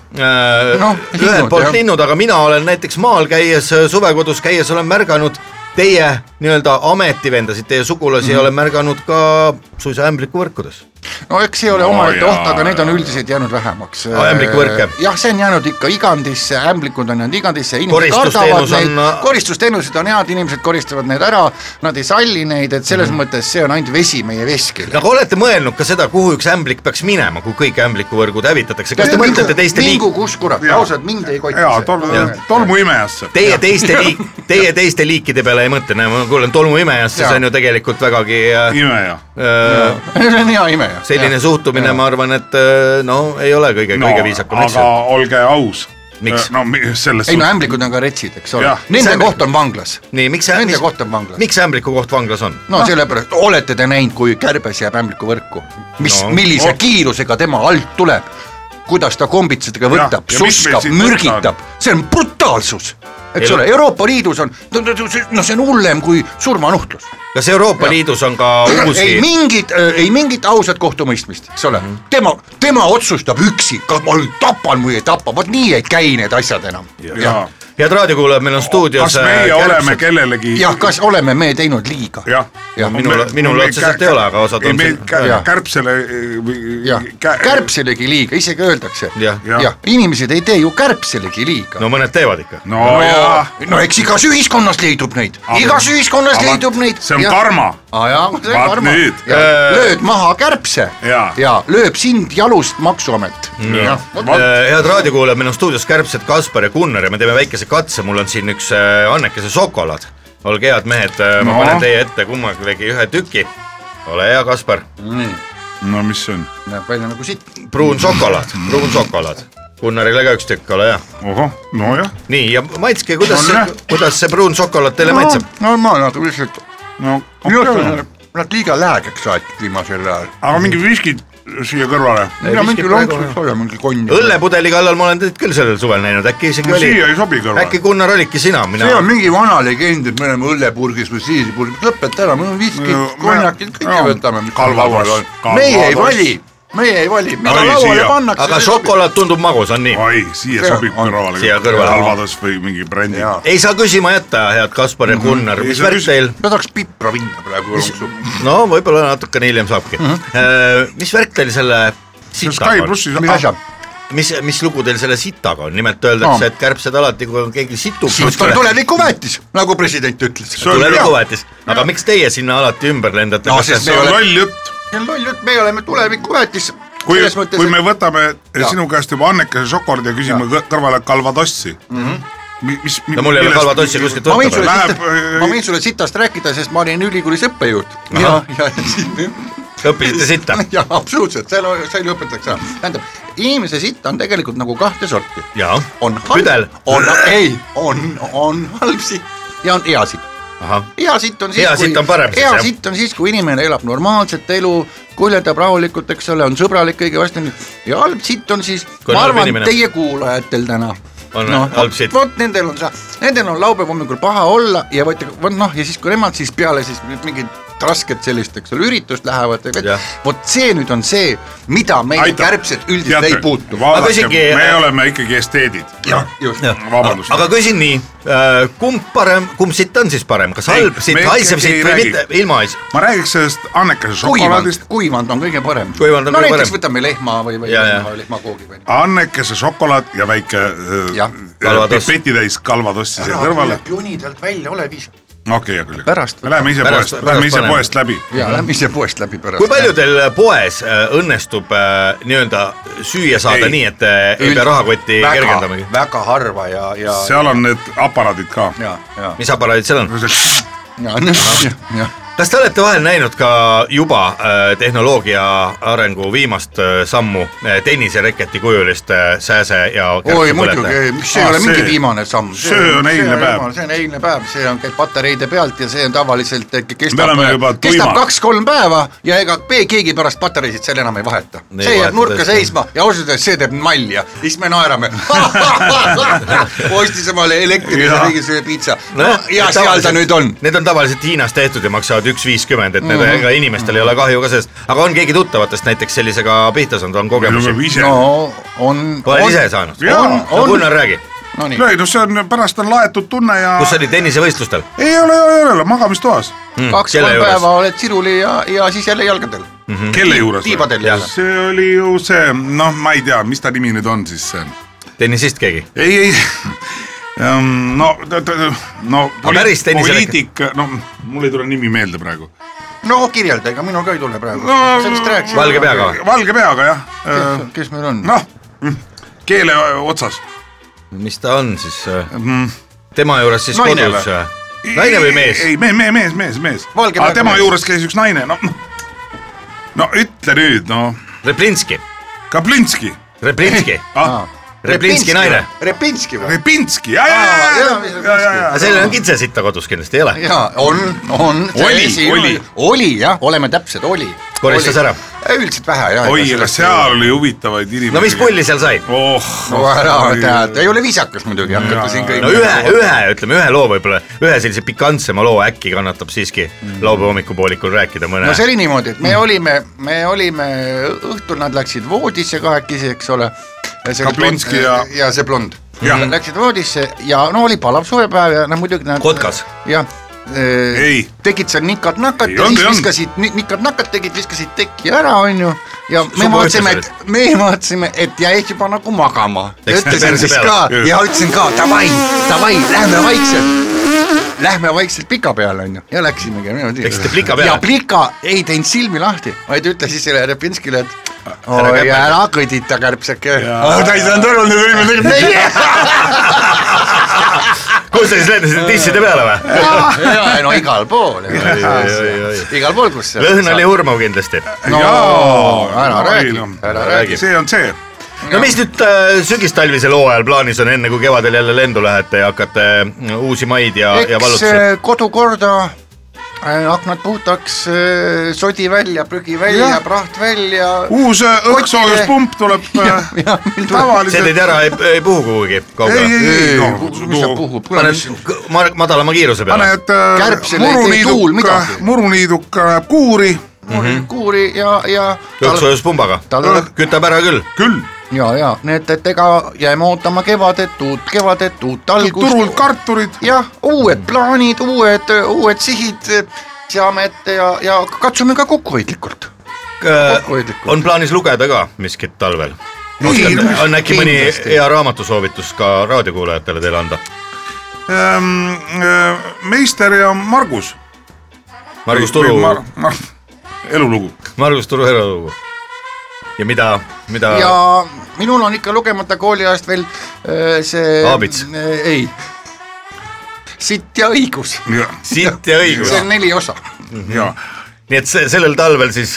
Noh,
ühelt
linnud,
poolt
jah.
linnud , aga mina olen näiteks maal käies , suvekodus käies olen märganud teie nii-öelda ametivendasid , teie sugulasi
Mhm.
mm. olen märganud ka suisa ämblikuvõrkudes .
no eks see ole
No
omaette
jaa,
oht , aga need on
jaa.
üldiselt jäänud vähemaks .
Aa, ämblikuvõrke.
jah , see on jäänud ikka igandisse , ämblikud on jäänud igandisse , inimesed kardavad
Koristusteenus on- ,
neid
äh,
koristusteenused on head , inimesed koristavad need ära , nad ei salli neid , et selles mm
Mhm.
-hmm. mõttes see on ainult vesi meie veskil .
aga olete mõelnud ka seda , kuhu üks ämblik peaks minema , kui kõik ämblikuvõrgud hävitatakse , kas te mõtlete teiste liik-
mingu , kus kurat ,
Jaa.
ausalt mind ei koti
jaa , tol
Jah. ,
tolmuimejasse .
Teie teiste liik- , teie teiste liikide peale ei mõtle , näe ma kuulen tolmuimejast , siis
Jaa.
on ju tegelikult vägagi äh,
imeja .
äh,
see on hea imeja .
selline ja. suhtumine , ma arvan , et öö, no ei ole kõige no, , kõige viisakam
aga
aga... ,
olge aus .
Miks?
no mi- selles
ei no
suhtes ,
ämblikud on ka retsid , eks ole
Jah. ,
nende
See-
koht on vanglas .
eks ju . nii , miks ,
Nende
mis,
koht on vanglas.
miks ämbliku koht vanglas on ?
no
Noh.
sellepärast , olete te näinud , kui kärbes jääb ämblikuvõrku , mis
No.
no, , millise oh. kiirusega tema alt tuleb , kuidas ta kombitsetega võtab ,
ja mis meil
suskab ,
siin võtta
mürgitab , see on brutaalsus , eks
Ei
ole , Euroopa Liidus on , no no- no see no see on hullem kui surmanuhtlus .
kas Euroopa ja. Liidus on ka
ei
uusi ,
mingit , ei mingit ausat kohtumõistmist , eks
Mhm.
ole , tema , tema otsustab üksi , kas ma nüüd tapan või ei tapa , vot nii ei käi need asjad enam .
jaa .
head raadiokuulajad , meil on stuudios
kas meie
äh,
oleme
kärbsed.
kellelegi
jah , kas oleme me teinud liiga ?
jah
Jah.
Minul- minul otseselt ei ole, aga osad on
on siin
siin- .
Jah.
kärbsele
jah , kärbselegi liiga , isegi öeldakse .
Jah.
jah ja, , inimesed ei tee ju kärbselegi liiga .
no mõned teevad ikka no. .
no Oh, jaa .
no eks igas ühiskonnas leidub neid , igas ühiskonnas
Aga
leidub neid .
see on karma.
aa jaa , see on
Vaat
karma
nüüd. .
lööd maha kärbse
Jaa.
ja lööb sind jalust maksuamet .
Äh, head raadiokuulajad , meil on stuudios kärbsed Kaspar ja Gunnar ja me teeme väikese katse , mul on siin üks äh, annekese šokolaad . olge head mehed , ma
No.
no. panen teie ette kummalegi ühe tüki . ole hea , Kaspar ,
no mis see on ?
näeb välja nagu sitt .
pruun šokolaad , pruun šokolaad . Gunnarile ka üks tükk , ole hea .
ohoh , nojah ,
nii ja maitske , kuidas see
Anna. ,
kuidas see pruun šokolaad teile maitseb ?
normaalne , aga lihtsalt
no
minu arust
okei.
on nad liiga läägeks aetud viimasel ajal .
aga mingi viskid siia kõrvale .
mina
viskid
mingi
praegu
lonks võiks olla , mingi konn .
õllepudeli kallal ma olen teid küll sellel suvel näinud , äkki isegi
no
oli ,
siia ei sobi kõrvale
äkki . Gunnar olidki sina , mina
see on mingi vana legend , et me oleme õllepurgis või siisipurgis , lõpeta ära , meil on viskid
No, , me-
konjakid , kõike
no,
võtame , mis meil
Calvados,
laual on .
Calvados.
meie ei vali , meie ei vali , mida
Ai,
lauale
siia.
pannakse .
aga šokolaad tundub magus , on nii ?
ai , siia
See
sobib
on-
kõrvale .
siia kõrvale.
Alvados või mingi brändi .
Jaa.
ei saa küsima jätta , head Kaspar ja Gunnar ,
Mhm. Ei
mis
saa
värk
küsi-
teil ,
ma tahaks pipra vinna praegu lonksu .
no võib-olla natukene hiljem saabki mm . -hmm. mis värk teil selle
Mhm. Sky
sitaga on ,
plussis ,
mis asja ?
mis , mis lugu teil selle sitaga on , nimelt öeldakse
Aa.
no. , et kärbsed alati , kui on keegi situb ,
siit on tulevikuväetis , nagu president ütles .
on hea.
tulevikuväetis , aga miks teie sinna alati ümber lendate
No
Kas
sest
see-
see
Me
on
oleme-
loll jutt .
loll jutt , me oleme tulevikuväetis .
kui , kui me võtame
Jaa.
sinu käest juba annekese šokolaadi ja küsime kõ- kõrvale Calvadossi mm .
Mhm.
-hmm. mis , mis
no mul ei ole Calvadossi kuskilt
ma võin
võtta
sulle
praegu .
Läheb,
sitast ,
äh,
ma võin sulle sitast rääkida , sest ma olin ülikoolis õppejõud . ja , ja ,
õppisite sitta ?
ja absoluutselt , seal , seal õpetatakse ära . tähendab , inimese sitt on tegelikult nagu kahte sorti .
jaa .
on
püdel
halb ,. on , ei , on , on halb sitt ja on hea sitt .
ahah ,
hea sitt on siis ,
Hea sitt on parem siis,
hea
jah.
sitt on siis , kui inimene elab normaalset elu , kuljetab rahulikult , eks ole , on sõbralik kõige vastu ja halb sitt on siis ,
Kui on
ma
halb
arvan
inimene. ,
teie kuulajatel täna .
On
noh
halb sitt. ,
vot nendel on see , nendel on laupäeva hommikul paha olla ja vot , vot noh , ja siis kui nemad siis peale siis mingit rasket sellist , eks ole , üritust lähevad ,
Jah.
vot see nüüd on see , mida meie
Aitäh.
kärbsed üldiselt ei puutu .
Ma
vaadake ,
küsingi-
me oleme ikkagi esteedid .
jah , just .
vabandust .
aga küsin nii , kumb parem , kumb sitt on siis parem , kas
Ei,
halb sitt
me ,
haisev
ikkagi ei
sitt või
räägi.
mitte , ilma hais- ?
ma räägiks sellest annekese
kuivand
šokolaadist ,,
kuivand on kõige parem .
Kuivand on
no
kõige
näiteks
parem.
võtame lehma või , või
Ja, ja.
lehma- lehmakoogi või .
annekese šokolaad ja väike äh,
Jah,
äh,
Calvados.
pipetitäis Calvadossi siia kõrvale .
joni talt välja , ole viis .
okei , hea küll .
Pärast
me läheme ise
Pärast-
poest ,
pärast
lähme ise
paneme.
poest läbi .
ja lähme ise poest läbi pärast .
kui palju teil poes äh, õnnestub äh, nii-öelda süüa saada
Ei.
ei. nii , et äh, ei pea rahakotti
väga
kergendamagi ?,
väga harva ja , ja ,
seal on need aparaadid ka .
ja , ja
mis aparaadid seal on ?
ja , jah , jah .
kas te olete vahel näinud ka juba äh, tehnoloogia arengu viimast äh, sammu äh, tennisereketi kujulist äh, sääse ja
oi
kärbse
muidugi , mis see ei
Aa,
ole mingi
Ah, see-
viimane samm .
see on eilne päev.
see on eilne päev , see on , käib patareide pealt ja see on tavaliselt kestab
oleme juba ,
kestab
tuimad.
kaks-kolm päeva ja ega pe- keegi pärast patareisid seal enam ei vaheta .
Ei
see jääb
vaheta
nurka
tõesti.
seisma ja ausalt öeldes see teeb nalja , siis me naerame . ostis omale elektrilise
Jah.
mingisugune piitsa
No,
ja Noh, seal ta nüüd on .
Ah,
Mhm.
Need on tavaliselt Hiinas tehtud ja maksavad üks viiskümmend , et need mm -hmm. ega inimestel ei ole kahju ka sellest , aga on keegi tuttavatest näiteks sellisega pihta saanud , on kogemusi ?
no on .
oled ise saanud ?
Jaa,
no
on.
Gunnar , räägi ,
Nonii ,
ei no see on , pärast on laetud tunne ja
kus sa olid tennisevõistlustel ? Hmm,
ei ole , ei ole , ei ole , magamistoas .
kaks-kolm päeva . oled siruli ja , ja siis jälle jalgadel ,
kelle juures ?
tiibadel
Jah.
jälle .
see oli ju see , noh , ma ei tea , mis ta nimi nüüd on siis see .
tennisist keegi ?
ei , ei Üm, no , no
Aga päris tennisele-
poliitik , no mul ei tule nimi meelde praegu .
no kirjelda , ega minul ka ei tule praegu
No,
no, , sellest rääkisime .
Valge peaga või ?
valge peaga jah ,
kes meil on ?
noh keele otsas .
mis ta on siis mm. ? tema juures siis
Naine
kodus või ? naine või mees ?
ei , me , me , mees , mees , mees .
Valge
aga
peaga
tema
mees.
juures käis üks naine , no , no ütle nüüd , no
Replinski ,
Kaplinski
Replinski ,
ah, ,
Replinski naine .
Repinski või ?
Repinski , ja , ja , ja , ja , ja , ja , ja .
aga sellel on kitsasitta kodus kindlasti , ei ole ?
jaa , on , on .
Oli, oli.
oli jah , oleme täpsed , oli .
koristas ära .
üldiselt vähe jah .
oi , aga seal oli huvitavaid inimesi .
no mis pulli seal sai ?
oh,
no ära tead , ei ole viisakas muidugi hakata siin kõik .
no ühe , ühe , ütleme ühe loo võib-olla , ühe sellise pikantsema loo äkki kannatab siiski laupäeva hommikupoolikul rääkida mõne
no see oli niimoodi , et me olime , me olime õhtul , nad läksid voodisse kahekesi , eks ole .
Kaplinski ja-
ja see blond .
Jah.
Läksid voodisse ja no oli palav suvepäev ja no muidugi nad .
Kotkas.
jah .
Ei.
tegid seal nikad-nakad
Ei
ja
olnud,
siis
ei olnud.
viskasid , nikad-nakad tegid , viskasid teki ära , onju . ja me
suva
vaatasime ,
ütles
et , me vaatasime , et jäid juba nagu magama .
Läks
ütlesin
perse
siis
peale.
ka
Just.
ja ütlesin ka davai , davai , lähme vaikselt . Lähme vaikselt pika peale onju ja läksimegi niimoodi .
Läksite plika peale?
ja Plika ei teinud silmi lahti , vaid ütles siis selle Repinskile , et
Ära
oi
käperda."
ära kõdita kärbseke . ta ei saanud aru , me olime tegelikult
kus te siis lendasite tisside peale või ?
meie . no igal pool , igal pool , kus .
lõhn oli . hurmav kindlasti .
no
Jaa.
ära
Oi,
räägi
no. ,
ära räägi .
see on see ,
no mis nüüd äh, sügistalvisel hooajal plaanis on , enne kui kevadel jälle lendu lähete ja hakkate äh, uusi maid ja , ja
eks
valutusi
äh, kodu korda , aknad puhtaks , sodi välja , prügi välja , praht välja .
uus äh, õhksoojuspump tuleb äh,
see
tavaliselt .
teid ära ei , ei puhu kuhugi
ei ,
kaugele .
ei , ei ,
mis ta puhub , kuule ,
panen
mis
kõ- ma- madalama kiiruse
pane ,
peale .
et äh,
Kärbsele ei tee tuul
muruniiduka
midagi. ,
muruniiduka läheb äh, kuuri ,
kurib kuuri ja , ja .
jooksuajuspumbaga
tal tuleb ,
kütab ära küll .
küll ,
ja , ja nii et , et ega jääme ootama kevadet , uut kevadet , uut algust .
turult karturid ,
jah , uued plaanid , uued , uued sihid seame ette ja , ja katsume ka kokkuhoidlikult .
Äh,
Kokkuhoidlikult.
on plaanis lugeda ka miskit talvel ?
Ei,
on äkki mõni
kindlasti.
hea raamatusoovitus ka raadiokuulajatele teile anda ?
ähm, äh, meister ja Margus .
Margus Turu ,
elulugu ,
Margus Turu elulugu . ja mida , mida
ja minul on ikka lugemata kooliajast veel äh, see .
Aabits.
ei , sitt ja õigus ,
siit ja õigus
see , on neli osa .
ja
Mm-hmm.
nii et se- sellel talvel siis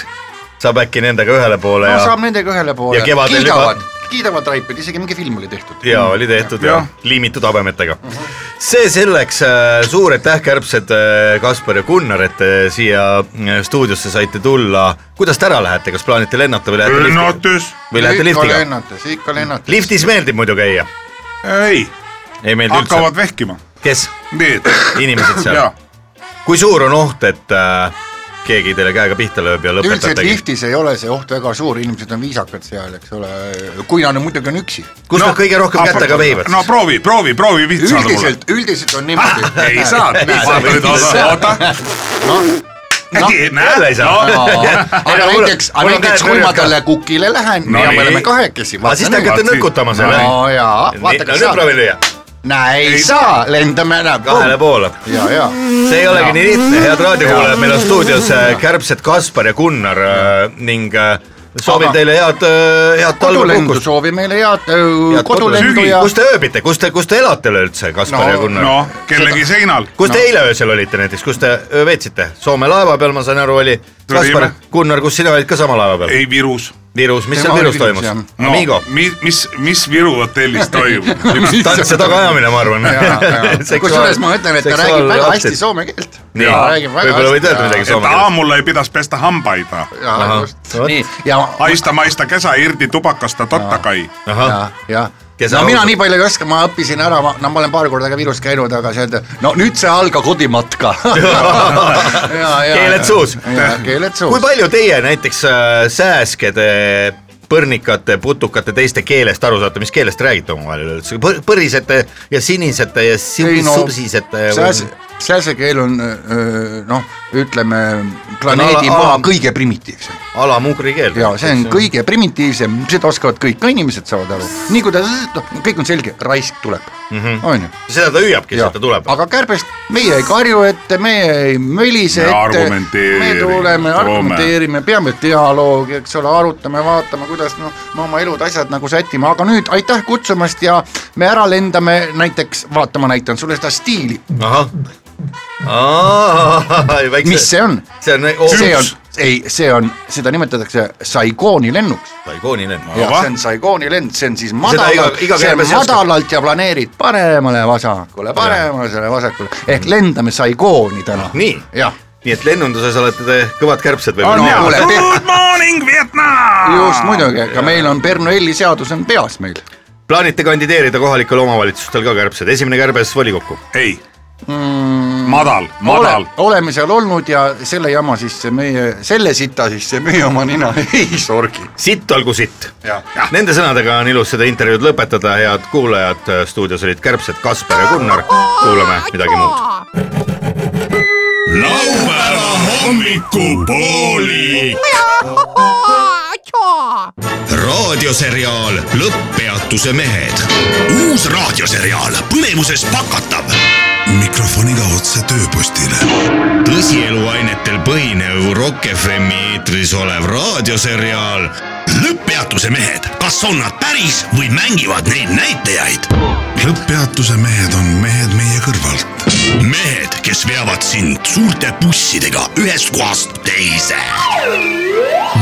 saab äkki nendega ühele poole
no
ja
saab , nendega ühele poole
Ja . kevadel
kiidavad
juba- ,
kiidavad Raipet , isegi mingi film oli tehtud .
ja oli tehtud ja,
Jah.
ja liimitud habemetega . see selleks , suur aitäh , kärbsed äh, Kaspar ja Gunnar , et te siia äh, stuudiosse saite tulla . kuidas te ära lähete , kas plaanite lennata või lähete liftiga ?
lennates ,
või lähete
ikka
liftiga ?
lennates , ikka lennates .
liftis meeldib muidu käia ,
ei ,
ei meeldi
hakkavad vehkima ,
üldse . kes ?
need
inimesed seal
ja .
kui suur on oht , et äh, keegi teile käega pihta lööb ja
üldiselt
lõpetategi ?
liftis ei ole see oht väga suur , inimesed on viisakad seal , eks ole , kui nad muidugi on üksi .
kus nad kõige rohkem
aga-
kätega veivad
no ? proovi , proovi , proovi pihta saada mulle .
üldiselt , üldiselt on niimoodi .
ei saa ,
saa.
oota , oota .
jälle ei saa no. .
Noh, aga
mul on-
näiteks ,
mul
aga
on käed
näiteks kui ma
nurjas ka.
talle kukile lähen no, ja
nii.
me oleme kahekesi .
aga siis te hakkate nõkutama seal jah ?
no jaa , vaata kas
nüüd proovi
saab .
lüüa ,
näe , ei saa , lendame ära .
kahele poole .
ja , ja
see ei olegi nii lihtne , head raadiokuulajad , meil on stuudios äh, kärbsed Kaspar ja Gunnar äh, ning äh, soovin
Aga-
teile head , head
kodulendu
talvepuhkust .
soovi meile head
Head
kodulendu
kodulendu.
ja
kus te ööbite , kus te , kus te elate üleüldse , Kaspar
No,
ja Gunnar ?
noh , kellegi seinal .
kus te eile öösel olite näiteks , kus te öö veetsite ? Soome laeva peal , ma sain aru , oli . Kaspar
Tulime. ,
Gunnar , kus sina olid ka sama laeva peal ?
ei , Virus .
Virus , mis
Tema
seal
oli
Virus
Virus,
toimus
jah. ?
no
Amigo ,
mi- mis , mis Viru hotellis toimub ?
üks tants ja tagaajamine , ma arvan .
kusjuures ma ütlen , et ta räägib väga hästi soome keelt .
Nii. Võib-olla võid öelda midagi.
et aamulla ei pidas peesta hambaid .
Ahah,
jaa , just
vot. ,
nii ja ,
haista maista käsa irdi tubakasta totta kai .
ahah ,
jah .
Kes
no mina
ausalt-
nii palju ei oska , ma õppisin ära , ma , no ma olen paar korda ka Virus käinud , aga see , no nüüd see alga kodimatka .
Keeled suus.
keeled
kui
suus .
palju teie näiteks äh, sääskede , põrnikate , putukate , teiste keelest aru saate , mis keelest räägite omavahel üleüldse , põrisete ja sinisete ja
Ei, no,
subsisete
sääs- , sääsekeel on öö, noh , ütleme planeedi maa
ala-
kõige primitiivsem
alamugri keel .
ja see on kõige primitiivsem , seda oskavad kõik , ka inimesed saavad aru , nii kui ta , noh , kõik on selge , raisk tuleb ,
Mhm.
onju .
seda ta hüüabki , sealt ta tuleb .
aga kärbest meie ei karju ette , meie ei mölise
Me
ette , me
argumenteerime,
tuleme ,
toome.
argumenteersime , peame dialoogi , eks ole , arutame , vaatame , kuidas noh , me oma elud , asjad nagu sättima , aga nüüd aitäh kutsumast ja me ära lendame näiteks , vaata , ma näitan sulle seda stiili ,
ahah , väikse .
mis see on ?
see on nagu-
see on
hoopis ,
ei , see on , seda nimetatakse Saigooni lennuks .
Saigooni lend .
jah ,
Ahvah.
see on Saigooni lend , see on siis
iga-
madalalt ,
iga
see on
kärbes oskab.
madalalt ja planeerid paremale vasakule , paremale vasakule ehk lendame Saigooni täna .
Nii.
jah ,
nii et lennunduses olete te kõvad kärbsed
no
võib-olla .
kuule ,
Good morning Vietnam !
just muidugi , aga meil on Bernoulli seadus on peas meil .
plaanite kandideerida kohalikel omavalitsustel ka kärbsed , esimene kärbes volikokku .
ei . madal ,
Ole,
madal .
oleme seal olnud ja selle jama sisse meie , selle sita sisse meie oma nina ei sorgi .
sitt olgu sitt .
Jah.
Nende sõnadega on ilus seda intervjuud lõpetada , head kuulajad , stuudios olid kärbsed Kaspar ja Gunnar , kuulame midagi muud .
laupäeva hommikupooli . raadioseriaal Lõpppeatuse mehed . uus raadioseriaal põnevuses pakatav . mikrofoniga otse tööpostile . tõsieluainetel põhinev Rock FM-i eetris olev raadioseriaal Lõpppeatuse mehed , kas on nad päris või mängivad neid näitajaid ? lõpppeatuse mehed on mehed meie kõrvalt . mehed , kes veavad sind suurte bussidega ühest kohast teise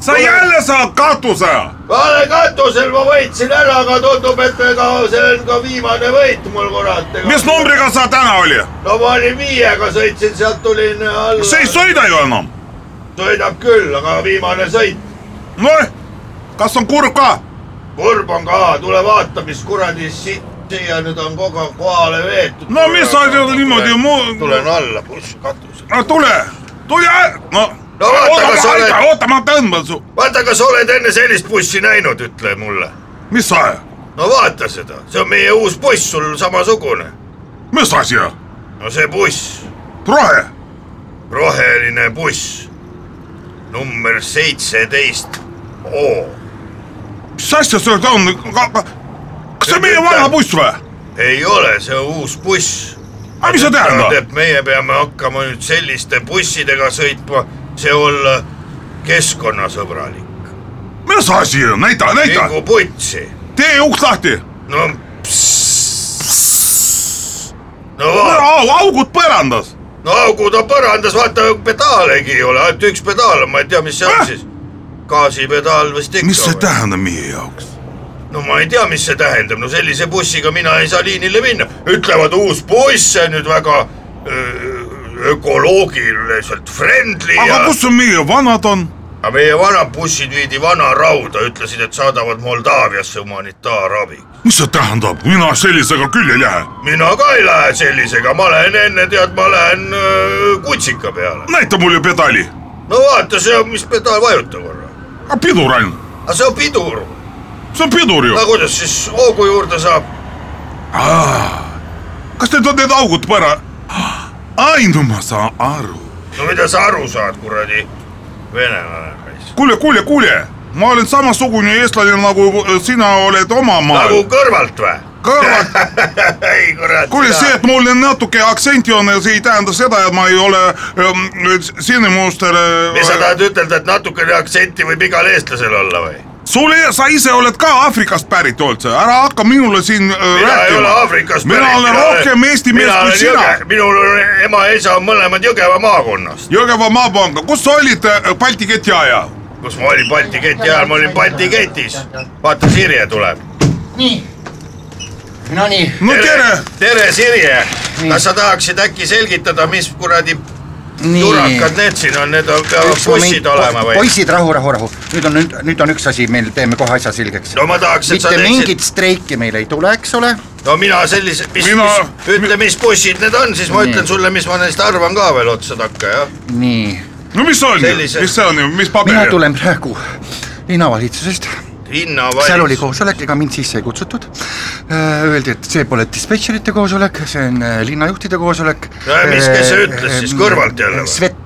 sa jälle saad katuse .
ole katusel , ma võitsin ära , aga tundub , et ega see on ka viimane võit mul kurat .
mis numbriga sa täna oli ?
no ma olin viiega , sõitsin sealt , tulin alla .
sa ei sõida ju enam .
sõidab küll , aga viimane sõit .
noh , kas on kurb ka ?
kurb on ka , tule vaata , mis kuradi sitt siia nüüd on kogu aeg kohale veetud .
no mis sa nüüd niimoodi mu-
tulen alla , buss katusel .
no tule , tule , no .
No vaata, kas sa oled-
oota , oota , ma tõmban su ,
vaata , kas sa oled enne sellist bussi näinud , ütle mulle .
mis sa ,
no vaata seda , see on meie uus buss , sul samasugune .
mis asi ,
no see buss
rohe ,
roheline buss number seitseteist O .
mis asja see nüüd on , kas see on meie vana buss või ?
ei ole see uus buss .
aga mis see tähendab ?
et meie peame hakkama nüüd selliste bussidega sõitma , see olla keskkonnasõbralik .
mis asi , näita , näita ,
mingu putsi ,
tee uks lahti ,
no . no vaata ,
au , augud põrandas ,
no augu ta põrandas , vaata pedaalegi ei ole , ainult üks pedaal on , ma ei tea , mis see on
Ah!
siis . gaasipedaal vist ikka .
mis see tähendab meie jaoks ?
no ma ei tea , mis see tähendab , no sellise bussiga mina ei saa liinile minna , ütlevad uus buss , see on nüüd väga öö, ökoloogiliselt friendly
aga
ja
kus on meie vanad on ?
aga meie vanad bussid viidi vana rauda , ütlesid , et saadavad Moldaaviasse humanitaarabi .
mis see tähendab , mina sellisega küll ei lähe ,
mina ka ei lähe sellisega , ma lähen enne tead , ma lähen öö, kutsika peale .
näita mulle pedaali ,
no vaata , see on , mis pedaal vajutab ,
pidur ainult ,
aga see on pidur ,
see on pidur ju
no , kuidas siis hoogu juurde saab ,
kas need on need augud põra- ? ai , no ma saan aru
no mida sa aru saad , kuradi venelane .
kuule , kuule , kuule , ma olen samasugune eestlane nagu sina oled oma maal
nagu
nagu... .
kõrvalt või ?
kõrvalt ,
ei kurat .
kuule see , et mul on natuke aktsenti on , see ei tähenda seda , et ma ei ole ähm, sinimuster
mis sa
äh, .
tahad ütelda , et natukene aktsenti võib igal eestlasel olla või ?
sulle , sa ise oled ka Aafrikast pärit üldse , ära hakka minule siin äh,
mina ei ole
rääkima .
Aafrikast
Mina olen rohkem eesti mees kui sina. .
minul on ema ja isa on mõlemad Jõgeva maakonnast ,
Jõgeva maapanga , kus sa olid äh, Balti keti ajal ?
kus ma olin Balti keti ajal , ma olin Balti ketis . vaata , Sirje tuleb .
nii . Nonii ,
no tere ,
tere , Sirje . kas sa tahaksid äkki selgitada , mis kuradi turakad need siin on , need on , peavad
Üks
bussid
moment,
olema või ?
poisid , rahu , rahu , rahu , nüüd on nüüd , nüüd on üks asi , meil teeme kohe asja selgeks .
no ma tahaks , et sa
mitte
teeksid ,
mingit streiki meil ei tule , eks ole ,
no mina sellise , mis
Mina- ,
ütle , mis bussid need on , siis ma
Nii.
ütlen sulle , mis ma neist arvan ka veel otsa takka , jah .
nii .
no mis see on ,
Sellise-
mis see on , mis
mina
paber ?
tulen praegu linnavalitsusest ,
linnavalitsus .
seal oli koosolek , ega mind sisse ei kutsutud . Öeldi , et see pole dispetšerite koosolek , see on äh, linnajuhtide koosolek .
No ja mis- kes see ütles siis, kõrvalt jälle või?
Svet .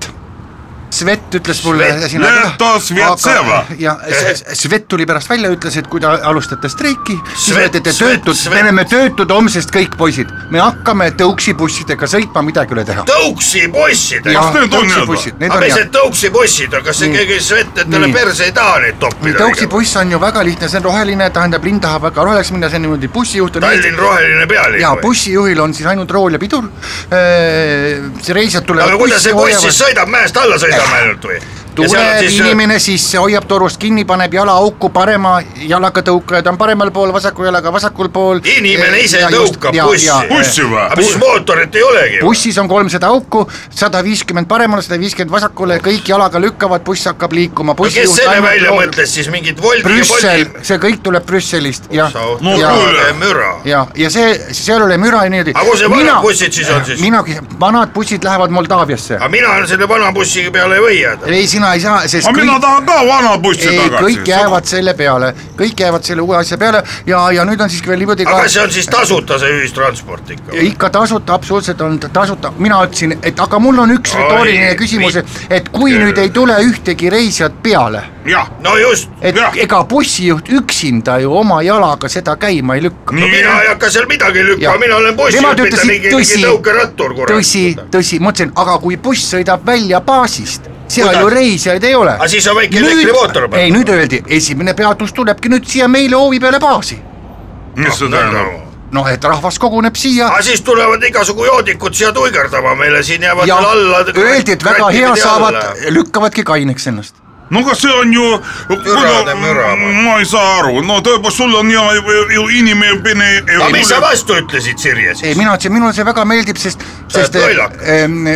Svet ütles mulle
Svet-
sina
Leto Svjatseva.
ja S- Svet tuli pärast välja , ütles , et kui te alustate streiki , siis
Svet-
olete te
Svet-
töötud ,
Svet-
me oleme töötud homsest kõik poisid , me hakkame tõuksibussidega sõitma , midagi ei ole teha .
tõuksi bussidega .
Kas need on head või?
need
aga
on
mis
head
need . tõuksibussid on , kas see
Nii.
keegi Svet , et talle
Nii.
perse ei taha neid toppida ?
tõuksibuss on ju väga lihtne , see on roheline , tähendab linn tahab väga roheliseks minna , see on niimoodi bussijuht on
Tallinn roheline pealik
ja ? bussijuhil on siis ainult rool ja pidur . see reisijad tulevad .
aga kuidas see buss siis sõidab , mäest alla sõidame ainult või ?
tuleb
äh,
inimene sisse , hoiab torust kinni , paneb jala auku , parema jalaga tõukaja , ta on paremal pool , vasaku jalaga vasakul pool . Äh,
Inimene ise tõukab bussi.
bussi
aga
või ?
mis mootorit ei olegi ?
Äh, bussis on kolmsada auku , sada viiskümmend paremale , sada viiskümmend vasakule , kõik jalaga lükkavad , buss hakkab liikuma .
kes selle välja mõtles siis mingid Wolti ja
Brüssel , see kõik tuleb Brüsselist , jah .
Bolti ?
No
ja ,
kuule.
müra .
ja , ja see , seal oli müra ja niimoodi .
aga kus need vanad bussid siis on siis ?
mina , vanad bussid lähevad Moldaaviasse .
aga mina selle vana bussi peale ei või jääda .
ei , sina sina ei saa , sest
aga mina
kõik,
tahan ka vana bussi
ei,
tagasi .
kõik jäävad selle peale , kõik jäävad selle uue asja peale ja , ja nüüd on siis veel niimoodi ka
aga see on siis tasuta , see ühistransport ikka
Ja ? ikka tasuta , absoluutselt on ta tasuta , mina ütlesin , et aga mul on üks
Oi,
retooriline küsimus , et kui
mitte.
nüüd ei tule ühtegi reisijat peale ,
jah ,
no just ,
et
Jah.
ega bussijuht üksinda ju oma jalaga seda käima ei lükka .
no mina ei hakka seal midagi lükkama ,
Jah.
mina olen
Nemad
bussijuht , mitte
ütlesid
mingi , mingi
tõsi ,
tõukerattur ,
tõsi ,
kurat .
tõsi , mõtlesin , aga kui buss sõidab välja baasist , seal
Kuidas?
ju reisijaid ei ole .
Aga Ah, siis on väike elektrimootor peal.
ei , nüüd öeldi , esimene peatus tulebki nüüd siia meile hoovi peale baasi .
mis see tähendab ?
noh , et rahvas koguneb siia
aga siis tulevad igasugu joodikud siia tuigerdama meile , siin jäävad
ja
veel alla .
öeldi , et väga hea saavad , lükkavadki kaineks ennast .
no kas see on ju ,
Türane müra, ma-
ma ei saa aru , no tõepoolest , sul on ja ju- ju inimene .
aga mis sa vastu ütlesid , Sirje
ei ,
siis ?
mina ütlesin , minule see väga meeldib , sest ,
Sa oled
sest eh,
lollakas.
ehm,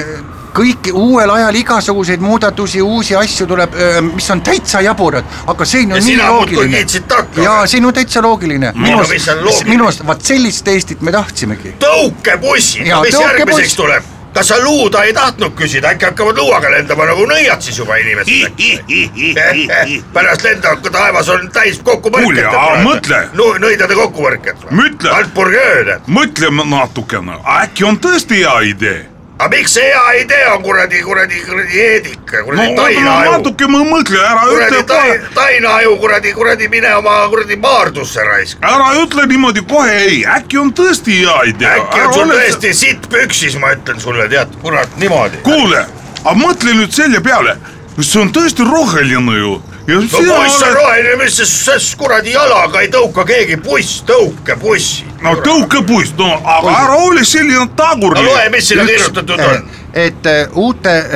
kõik uuel ajal igasuguseid muudatusi , uusi asju tuleb , mis on täitsa jaburad , aga siin on
ja
nii
sina muudkui
loogiline .
kiitsid takka .
jaa , siin on täitsa loogiline .
Mina, mis on loogiline?
minu arust , vaat sellist Eestit me tahtsimegi .
tõukebussid ,
Jaa,
mis
tõukebuss.
järgmiseks tuleb ? kas sa luuda ei tahtnud küsida , äkki hakkavad luuaga lendama nagu nõiad siis juba inimesed äkki ? pärast lendavad , kui taevas on täis kokkupõrket
Kuulge, . aga mõtle.
no nõidade kokkupõrket .
Mõtle.
Alpurgööd ,
mõtleme natukene , äkki on tõesti hea idee ?
aga miks see hea idee on kuradi , kuradi , kuradi eedik ,
no
kuradi
oota ,
tainaaju ,
natuke ma mõtlen , ära ütle
kuradi
kohe ,
tai- tainaaju , kuradi , kuradi mine oma kuradi maardusse raisk .
ära ütle niimoodi kohe ei , äkki on tõesti hea idee .
äkki on sul tõesti sitt püksis , ma ütlen sulle , tead , kurat niimoodi .
kuule , aga mõtle nüüd selle peale , see on tõesti roheline ju .
no buss on roheline , mis see , see kuradi jalaga ei tõuka keegi , buss , tõukebussi .
no . tõukepuist , no aga ära ole selline
no loe ,
tagurlik .
mis sinna kirjutatud on .
et eh, uute ,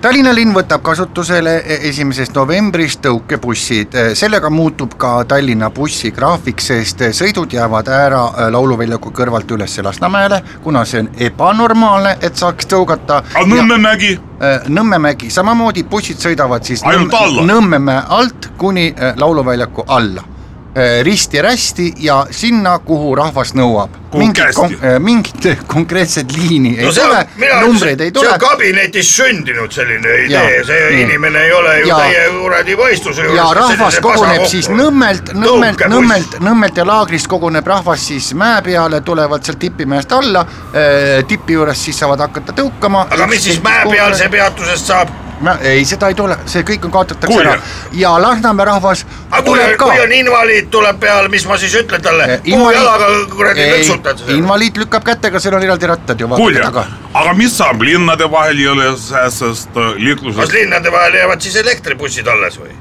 Tallinna linn võtab kasutusele eh, esimesest novembrist tõukebussid , sellega muutub ka Tallinna bussigraafik , sest eh, sõidud jäävad ära eh, lauluväljaku kõrvalt üles Lasnamäele , kuna see on ebanormaalne , et saaks tõugata .
aga Nõmmemägi ,
Äh, Nõmmemägi , samamoodi bussid sõidavad siis
Ainult
Nõmm-
alla.
Nõmmemäe alt kuni eh, lauluväljaku alla . risti-rästi ja sinna , kuhu rahvas nõuab .
Kuhu kästi.
mingit konkreetset liini ei
no see
tule
on , mina ,
numbreid ei
see
tule
on kabinetis sündinud selline idee
Jaa, ,
see
nii.
inimene ei ole ju
Jaa.
teie kuradi mõistuse juures .
ja rahvas koguneb siis . Nõmmelt , Nõmmelt ,
Tõukebuss.
Nõmmelt , Nõmmelt ja Laagrist koguneb rahvas siis mäe peale , tulevad sealt tipimäest alla , tipi juures siis saavad hakata tõukama .
aga mis siis mäepealse peatusest saab ?
Mä- ei , seda ei tule , see kõik on kaotatakse
Kuulge.
ära ja Lasnamäe rahvas
aga kui
tuleb , ka . Äh,
kui on invaliid tuleb peale , mis ma siis ütlen talle ? puujalaga kuradi lõksutad seda .
invaliid lükkab kätega , seal on eraldi rattad ju .
kuulge , aga mis saab , linnade vahel ei ole sääsest äh,
kas
liiklusest .
linnade vahel jäävad siis elektribussid alles või ?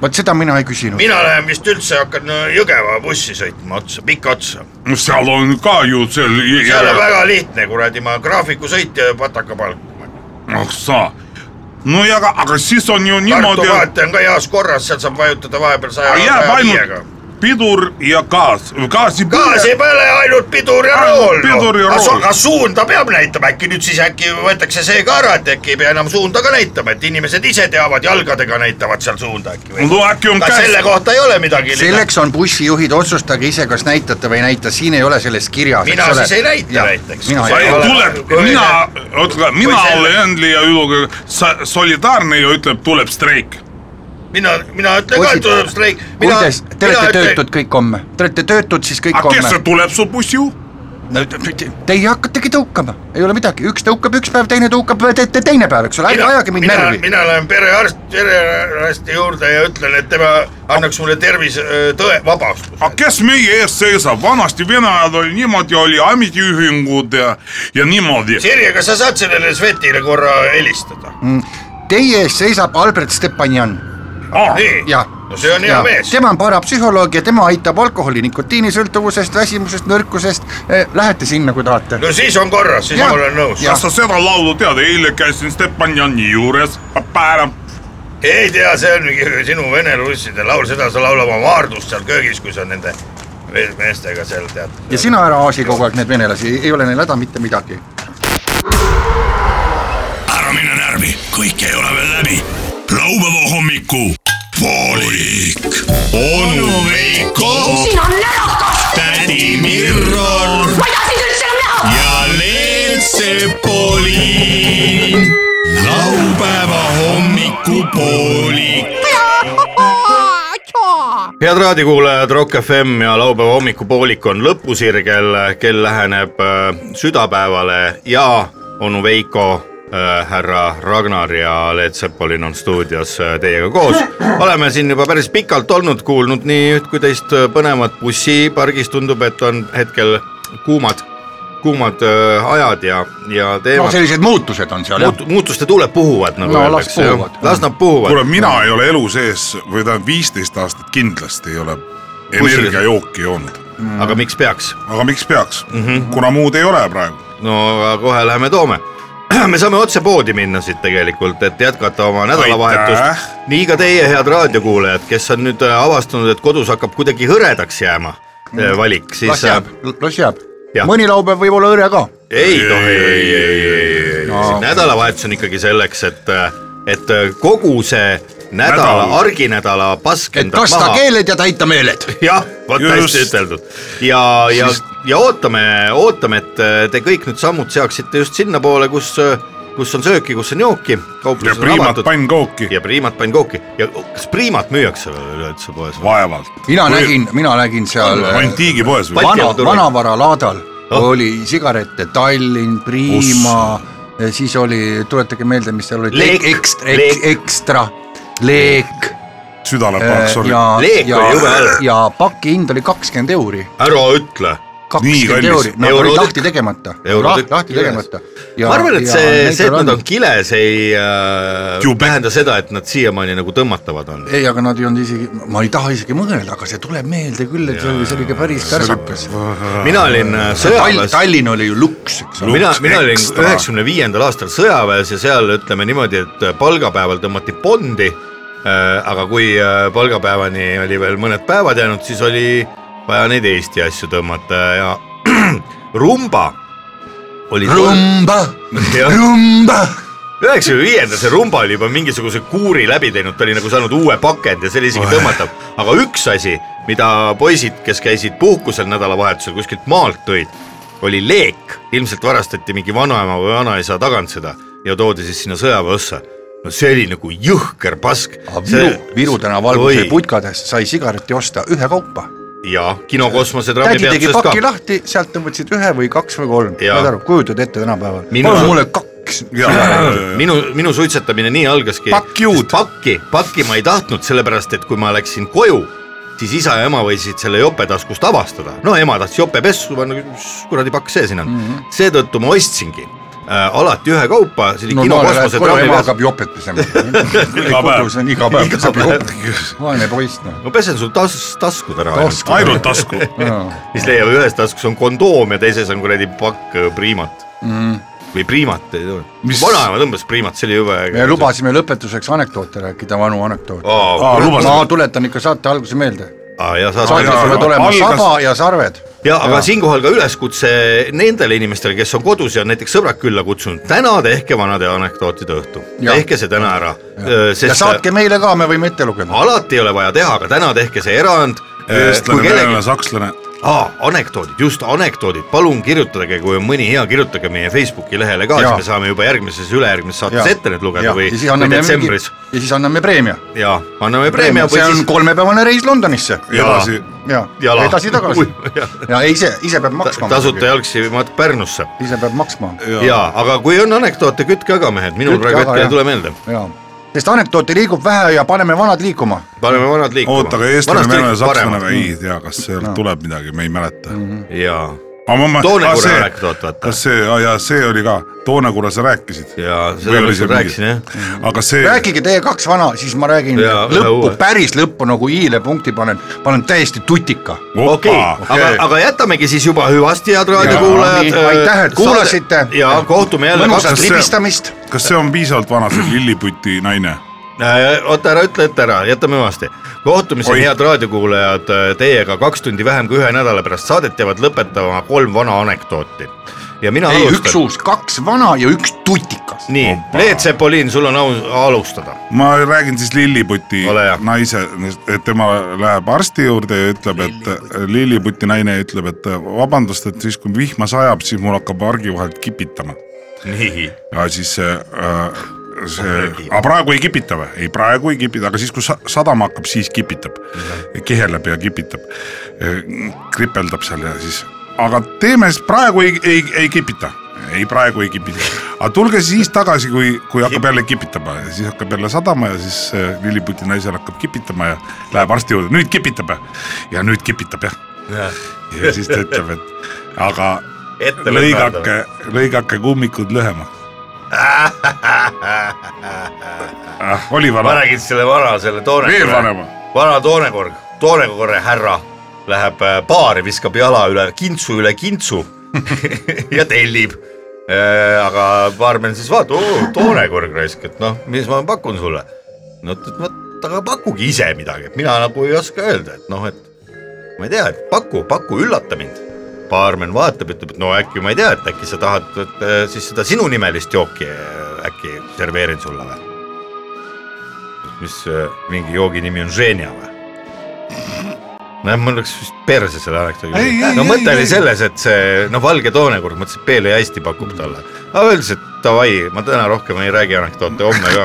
vot seda mina ei küsinud .
mina lähen vist üldse hakkan äh, Jõgeva bussi sõitma otsa , pikka otsa .
seal on ka ju seal .
seal on väga lihtne , kuradi , ma graafikusõitja ja patakapalk .
ah sa , no ja aga , aga siis on ju
Tartu
niimoodi ,
vaate on ka heas korras , seal saab vajutada vahepeal saja ,
jääb
saja viiega .
ainult pidur ja gaas , gaasi .
gaas ei põle , ainult pidur ja
Ainult
rool .
pidur ja rool.
aga suunda peab näitama , äkki nüüd siis äkki võetakse see ka ära , et äkki ei pea enam suunda ka näitama , et inimesed ise teavad , jalgadega näitavad seal suunda äkki või ?
no äkki on
kas selle
käes ,
kohta ei ole midagi ?
selleks on bussijuhid , otsustage ise , kas näitate või ei näita , siin ei ole selles kirjas .
Mina siis ei näita näiteks.
mina
Sa
ei
ei
ole .
ole-
tuleb , mina , ütle , mina
selle-
olen Endli ja Üluga sa- solidaarne ja ütleb , tuleb streik .
mina , mina ütlen ka , et tuleb streik .
kuidas , te olete töötud kõik homme , te olete töötud siis kõik
aga kes
homme
see . tuleb sul bussijuht ?
Teie hakkategi tõukama , ei ole midagi , üks tõukab üks päev , teine tõukab te, te, teine päev , eks ole , ärge ajage mind
mina,
närvi .
mina lähen perearst , perearsti juurde ja ütlen , et tema annaks mulle tervisetõe , vabastuse .
aga kes meie ees seisab , vanasti Vene ajal oli niimoodi , oli ametiühingud ja , ja niimoodi .
Sirje , kas sa saad sellele Svetile korra helistada ?
Teie ees seisab Albert Stepanjan
Ah,
nii
jah. ,
no see on hea
ja
ja. mees .
tema on parapsühholoog ja tema aitab alkoholi , nikotiinisõltuvusest , väsimusest , nõrkusest , lähete sinna , kui tahate .
no siis on korras , siis
Jah.
ma olen nõus
Jah. .
kas sa seda laulu tead , eile käisin Stepanjani juures , Ah, päev
ei tea , see on mingi sinu vene-russide laul , seda sa laula oma Maardus seal köögis , kui sa nende me- meestega seal tead .
ja sina ära aasi kogu aeg neid venelasi , ei ole neil häda mitte midagi .
ära mine närvi , kõik ei ole veel läbi . laupäeva hommiku poolik . onu Veiko ,
sina närakas ,
tädi Mirro
ma ei taha sind üldse enam näha .
ja Leelsepolin . laupäeva hommikupoolik .
head raadiokuulajad , Rock FM ja laupäeva hommikupoolik on lõpusirgel , kell läheneb äh, südapäevale ja onu Veiko äh, härra Ragnar ja Leet Sepolin on stuudios äh, teiega koos . oleme siin juba päris pikalt olnud , kuulnud nii üht kui teist äh, põnevat bussipargis , tundub , et on hetkel kuumad , kuumad äh, ajad ja , ja
no
teemad no, .
sellised muutused on seal jah
Muut, muutuste tuuled puhuvad nagu
No, las
öeldakse jah.
puhuvad.
las nad puhuvad .
kuule , mina ei ole elu sees või tähendab viisteist aastat kindlasti ei ole energiajooki joonud ,
aga miks peaks ?
aga miks peaks mm , -hmm. kuna muud ei ole praegu .
no aga kohe läheme toome . me saame otse poodi minna siit tegelikult , et jätkata oma
Aitäh!
nädalavahetust . nii ka teie , head raadiokuulajad , kes on nüüd äh, avastanud , et kodus hakkab kuidagi hõredaks jääma äh, valik ,
las
siis äh,
jääb , las jääb
Jah. .
mõni laupäev võib olla hõre ka .
ei tohi , ei , ei , ei , ei , ei , nädalavahetus on ikkagi selleks , et , et äh, kogu see nädala
Nädal. ,
arginädala pask
et
endalt
kasta
maha
keeled ja täita meeled .
jah , vot
Just.
hästi üteldud ja , ja , ja ootame , ootame , et äh, te kõik need sammud seaksite just sinnapoole , kus , kus on sööki , kus on jooki ,
ja
kauplused on
priimat
avatud
pannkooki
ja priimat pannkooki ja oh, kas priimat müüakse veel üleüldse poes ?
vaevalt ,
mina nägin , mina nägin seal äh,
antiigipoes
Balti
või ?
vana ,
jaama turul.
vanavaralaadal oh. oli sigarette Tallinn , Prima , siis oli , tuletage meelde , mis seal oli ,
Leek.
ekstra ,
Leek.
ekstra , leek
südale
äh,
pahaks oli .
ja ,
Leek
ja
oli jube hääl. ,
ja paki hind oli kakskümmend euri ,
ära ütle .
Nii
kakskümmend
kallis.
euri , nad
Eurotükk.
olid lahti tegemata ,
Eurotükk
lahti
kiles.
tegemata .
ma arvan , et see , see , et nad on kiles , ei äh,
Jube.
tähenda seda , et nad siiamaani nagu tõmmatavad on .
ei , aga nad ei olnud isegi , ma ei taha isegi mõelda , aga see tuleb meelde küll , et see oli , see oli ikka päris kärsakas .
mina olin äh, sõjaväes .
Tallinn oli ju luks , eks ole .
mina , mina olin
ekstra.
üheksakümne viiendal aastal sõjaväes ja seal ütleme niimoodi , et äh, palgapäeval tõmmati pondi . aga kui äh, palgapäevani oli veel mõned päevad jäänud , siis oli vaja neid Eesti asju tõmmata ja rumba oli .
rumba ,
Jah.
rumba
üheksakümne viiendal see rumba oli juba mingisuguse kuuri läbi teinud , ta oli nagu saanud uue pakendi ja see oli isegi tõmmatav . aga üks asi , mida poisid , kes käisid puhkusel nädalavahetusel kuskilt maalt tõid , oli leek . ilmselt varastati mingi vanaema või vanaisa tagant seda ja toodi siis sinna sõjaväeossa . no see oli nagu jõhker pask .
Ah, Viru , Viru tänava alguses oli putkades sai sigareti osta ühekaupa .
ja kinokosmose trammi
tädi tegi
peatuses
paki
ka .
lahti , sealt tõmbasid ühe või kaks või kolm ,
Jaa.
saad aru , kujutad ette tänapäeval .
Minu-
palun mulle kaks .
minu , minu suitsetamine nii algaski .
Pakk juud.
pakki , pakki ma ei tahtnud , sellepärast et kui ma läksin koju , siis isa ja ema võisid selle jope taskust avastada . no ema tahtis jope pessu panna , mis kuradi pakk see siin on
Mhm.
mm -hmm. . seetõttu ma ostsingi äh, alati ühekaupa , see oli no, kinokosmose
koju
trammi
ema
peal .
hakkab jopet pesema .
Iga päev.
kodus on iga päev peseb jopet . vaene poiss noh .
ma pesen sul tas- , taskud ära .
ainult tasku .
Äh,
siis leiab ühes taskus on kondoom ja teises on kuradi pakk äh, priimat mm .
Mhm.
-hmm. või priimat ei tule . vanaema tõmbas priimat , see oli jube äge
me . lubasime lõpetuseks anekdoote rääkida , vanu anekdoote .
aa ,
lubasid.
ma tuletan ikka saate alguse meelde .
ja saad .
saates
jaa,
peavad olema
algas-
saba ja sarved .
ja aga siinkohal ka üleskutse nendele inimestele , kes on kodus ja on näiteks sõbrad külla kutsunud , täna tehke vanade anekdootide õhtu ,
Jah.
tehke see täna ära ,
ja
sest
saatke meile ka , me võime ette lugeda .
alati ei ole vaja teha , aga täna tehke see erand .
eestlane , venelane , sakslane .
Aa, anekdoodid , just anekdoodid , palun kirjutage , kui on mõni hea , kirjutage meie Facebooki lehele ka ,
Jaa.
siis me saame juba järgmises , ülejärgmises saates
Jaa.
ette need lugeda
ja
või,
siis
või
anname mingi
detsembris
ja siis anname preemia .
ja anname preemia
preemia ,
või
see on
siis
kolmepäevane reis Londonisse
edasi ,
ja
jala
edasi-tagasi ja ise , ise peab maksma .
tasuta . jalgsi matk Pärnusse
ise peab maksma
ja. ja , aga kui on anekdoote , kütke aga mehed , minul
Kütke
praegu
aga,
hetkel ei
jah.
tule meelde ,
ja , sest anekdoote liigub vähe ja paneme vanad liikuma .
paneme vanad liikuma .
oota , aga eestlane , venelane , sakslane , ei
Mm.
tea , kas sealt tuleb midagi , me ei mäleta .
ja , Toonekura anekdoot, vaata.
kas see , ja see oli ka , Toonekura sa rääkisid .
ja seda ma lihtsalt rääkisin jah .
aga see ,
rääkige teie kaks vana , siis ma räägin
Jaa,
ja,
ühe
lõppu
uue. ,
päris lõppu nagu i-le punkti panen , panen täiesti tutika .
okei
opa ,
aga , aga jätamegi siis juba hüvasti , head raadiokuulajad .
aitäh , et kuulasite .
ja kohtume jälle
mõnusat
kaks .
libistamist .
kas see on piisavalt vana , see lilliputi naine ?
Äh, oota , ära ütle , et ära , jätame hüvasti . kohtumiseni ,
Oi.
head raadiokuulajad , teiega kaks tundi vähem kui ühe nädala pärast saadet jäävad lõpetama kolm vana anekdooti . ja mina
ei , üks
alustan .
uus , kaks vana ja üks tutikas .
nii , Leet Sepolin , sul on au alustada .
ma räägin siis lilliputi
Ole hea.
naise , et tema läheb arsti juurde ja ütleb , et lilliputi naine ütleb , et vabandust , et siis kui vihma sajab , siis mul hakkab argi vahelt kipitama .
nii .
ja siis see äh, see , aga praegu ei kipita või ? ei , praegu ei kipita , aga siis , kui sa- sadama hakkab , siis kipitab . kiheleb ja kipitab , kripeldab seal ja siis , aga teeme , praegu ei , ei , ei kipita ei , praegu ei kipita , aga tulge siis tagasi , kui , kui hakkab jälle kipitama ja siis hakkab jälle sadama ja siis äh, lilliputi naisel hakkab kipitama ja läheb arsti juurde , nüüd kipitab ja- ja nüüd kipitab jah . ja siis ta ütleb , et aga
Ette
lõigake , lõigake kummikud lühemaks . oli
ma
vana ,
räägin selle vana , selle
veel
toone ,
vanema .
vana toonekorg , toonekorra härra läheb äh, baari , viskab jala üle kintsu üle kintsu ja tellib . aga baarmen siis vaatab , oo toonekorg raisk , et noh , mis ma pakun sulle . no ta ütleb , vot aga pakugi ise midagi , et mina nagu ei oska öelda , et noh , et ma ei tea , et paku , paku , üllata mind baarmen vaatab , ütleb , et no äkki ma ei tea , et äkki sa tahad et, äh, siis seda sinunimelist jooki äh, äkki serveerin sulle või ? mis äh, mingi joogi nimi on Ženja või ? nojah , mul läks vist perse selle
Ei,
anekdoodi
ei, .
no
ei,
mõte
ei,
oli
ei.
selles , et see noh , valge toonekord , mõtlesin , et Peele hästi pakub talle . aga öeldes , et davai , ma täna rohkem ei räägi anekdoote , homme ka .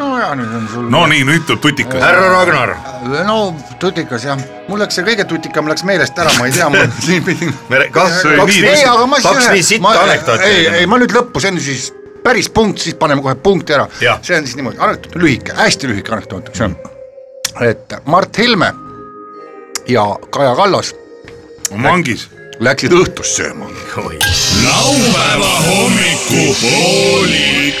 no ja nüüd on sul .
no nii , nüüd tuleb tutikas .
härra Ragnar ,
Äh, no tutikas jah , mul läks see kõige tutikam läks meelest ära , ma ei tea , ma siin pidin .
me rää- kaks , kaks
nii-
nii ,
aga ma siis
kaks
ühe-
nii sitta
ma-
anekdooti .
ei , ei ma nüüd lõppu , see on siis päris punkt , siis paneme kohe punkti ära .
Jah.
see on siis niimoodi , anekdoot on lühike , hästi lühike anekdoot , eks
Mm.
ole . et Mart Helme ja Kaja Kallas
mangis .
läksid õhtust sööma .
laupäeva hommikupoolik .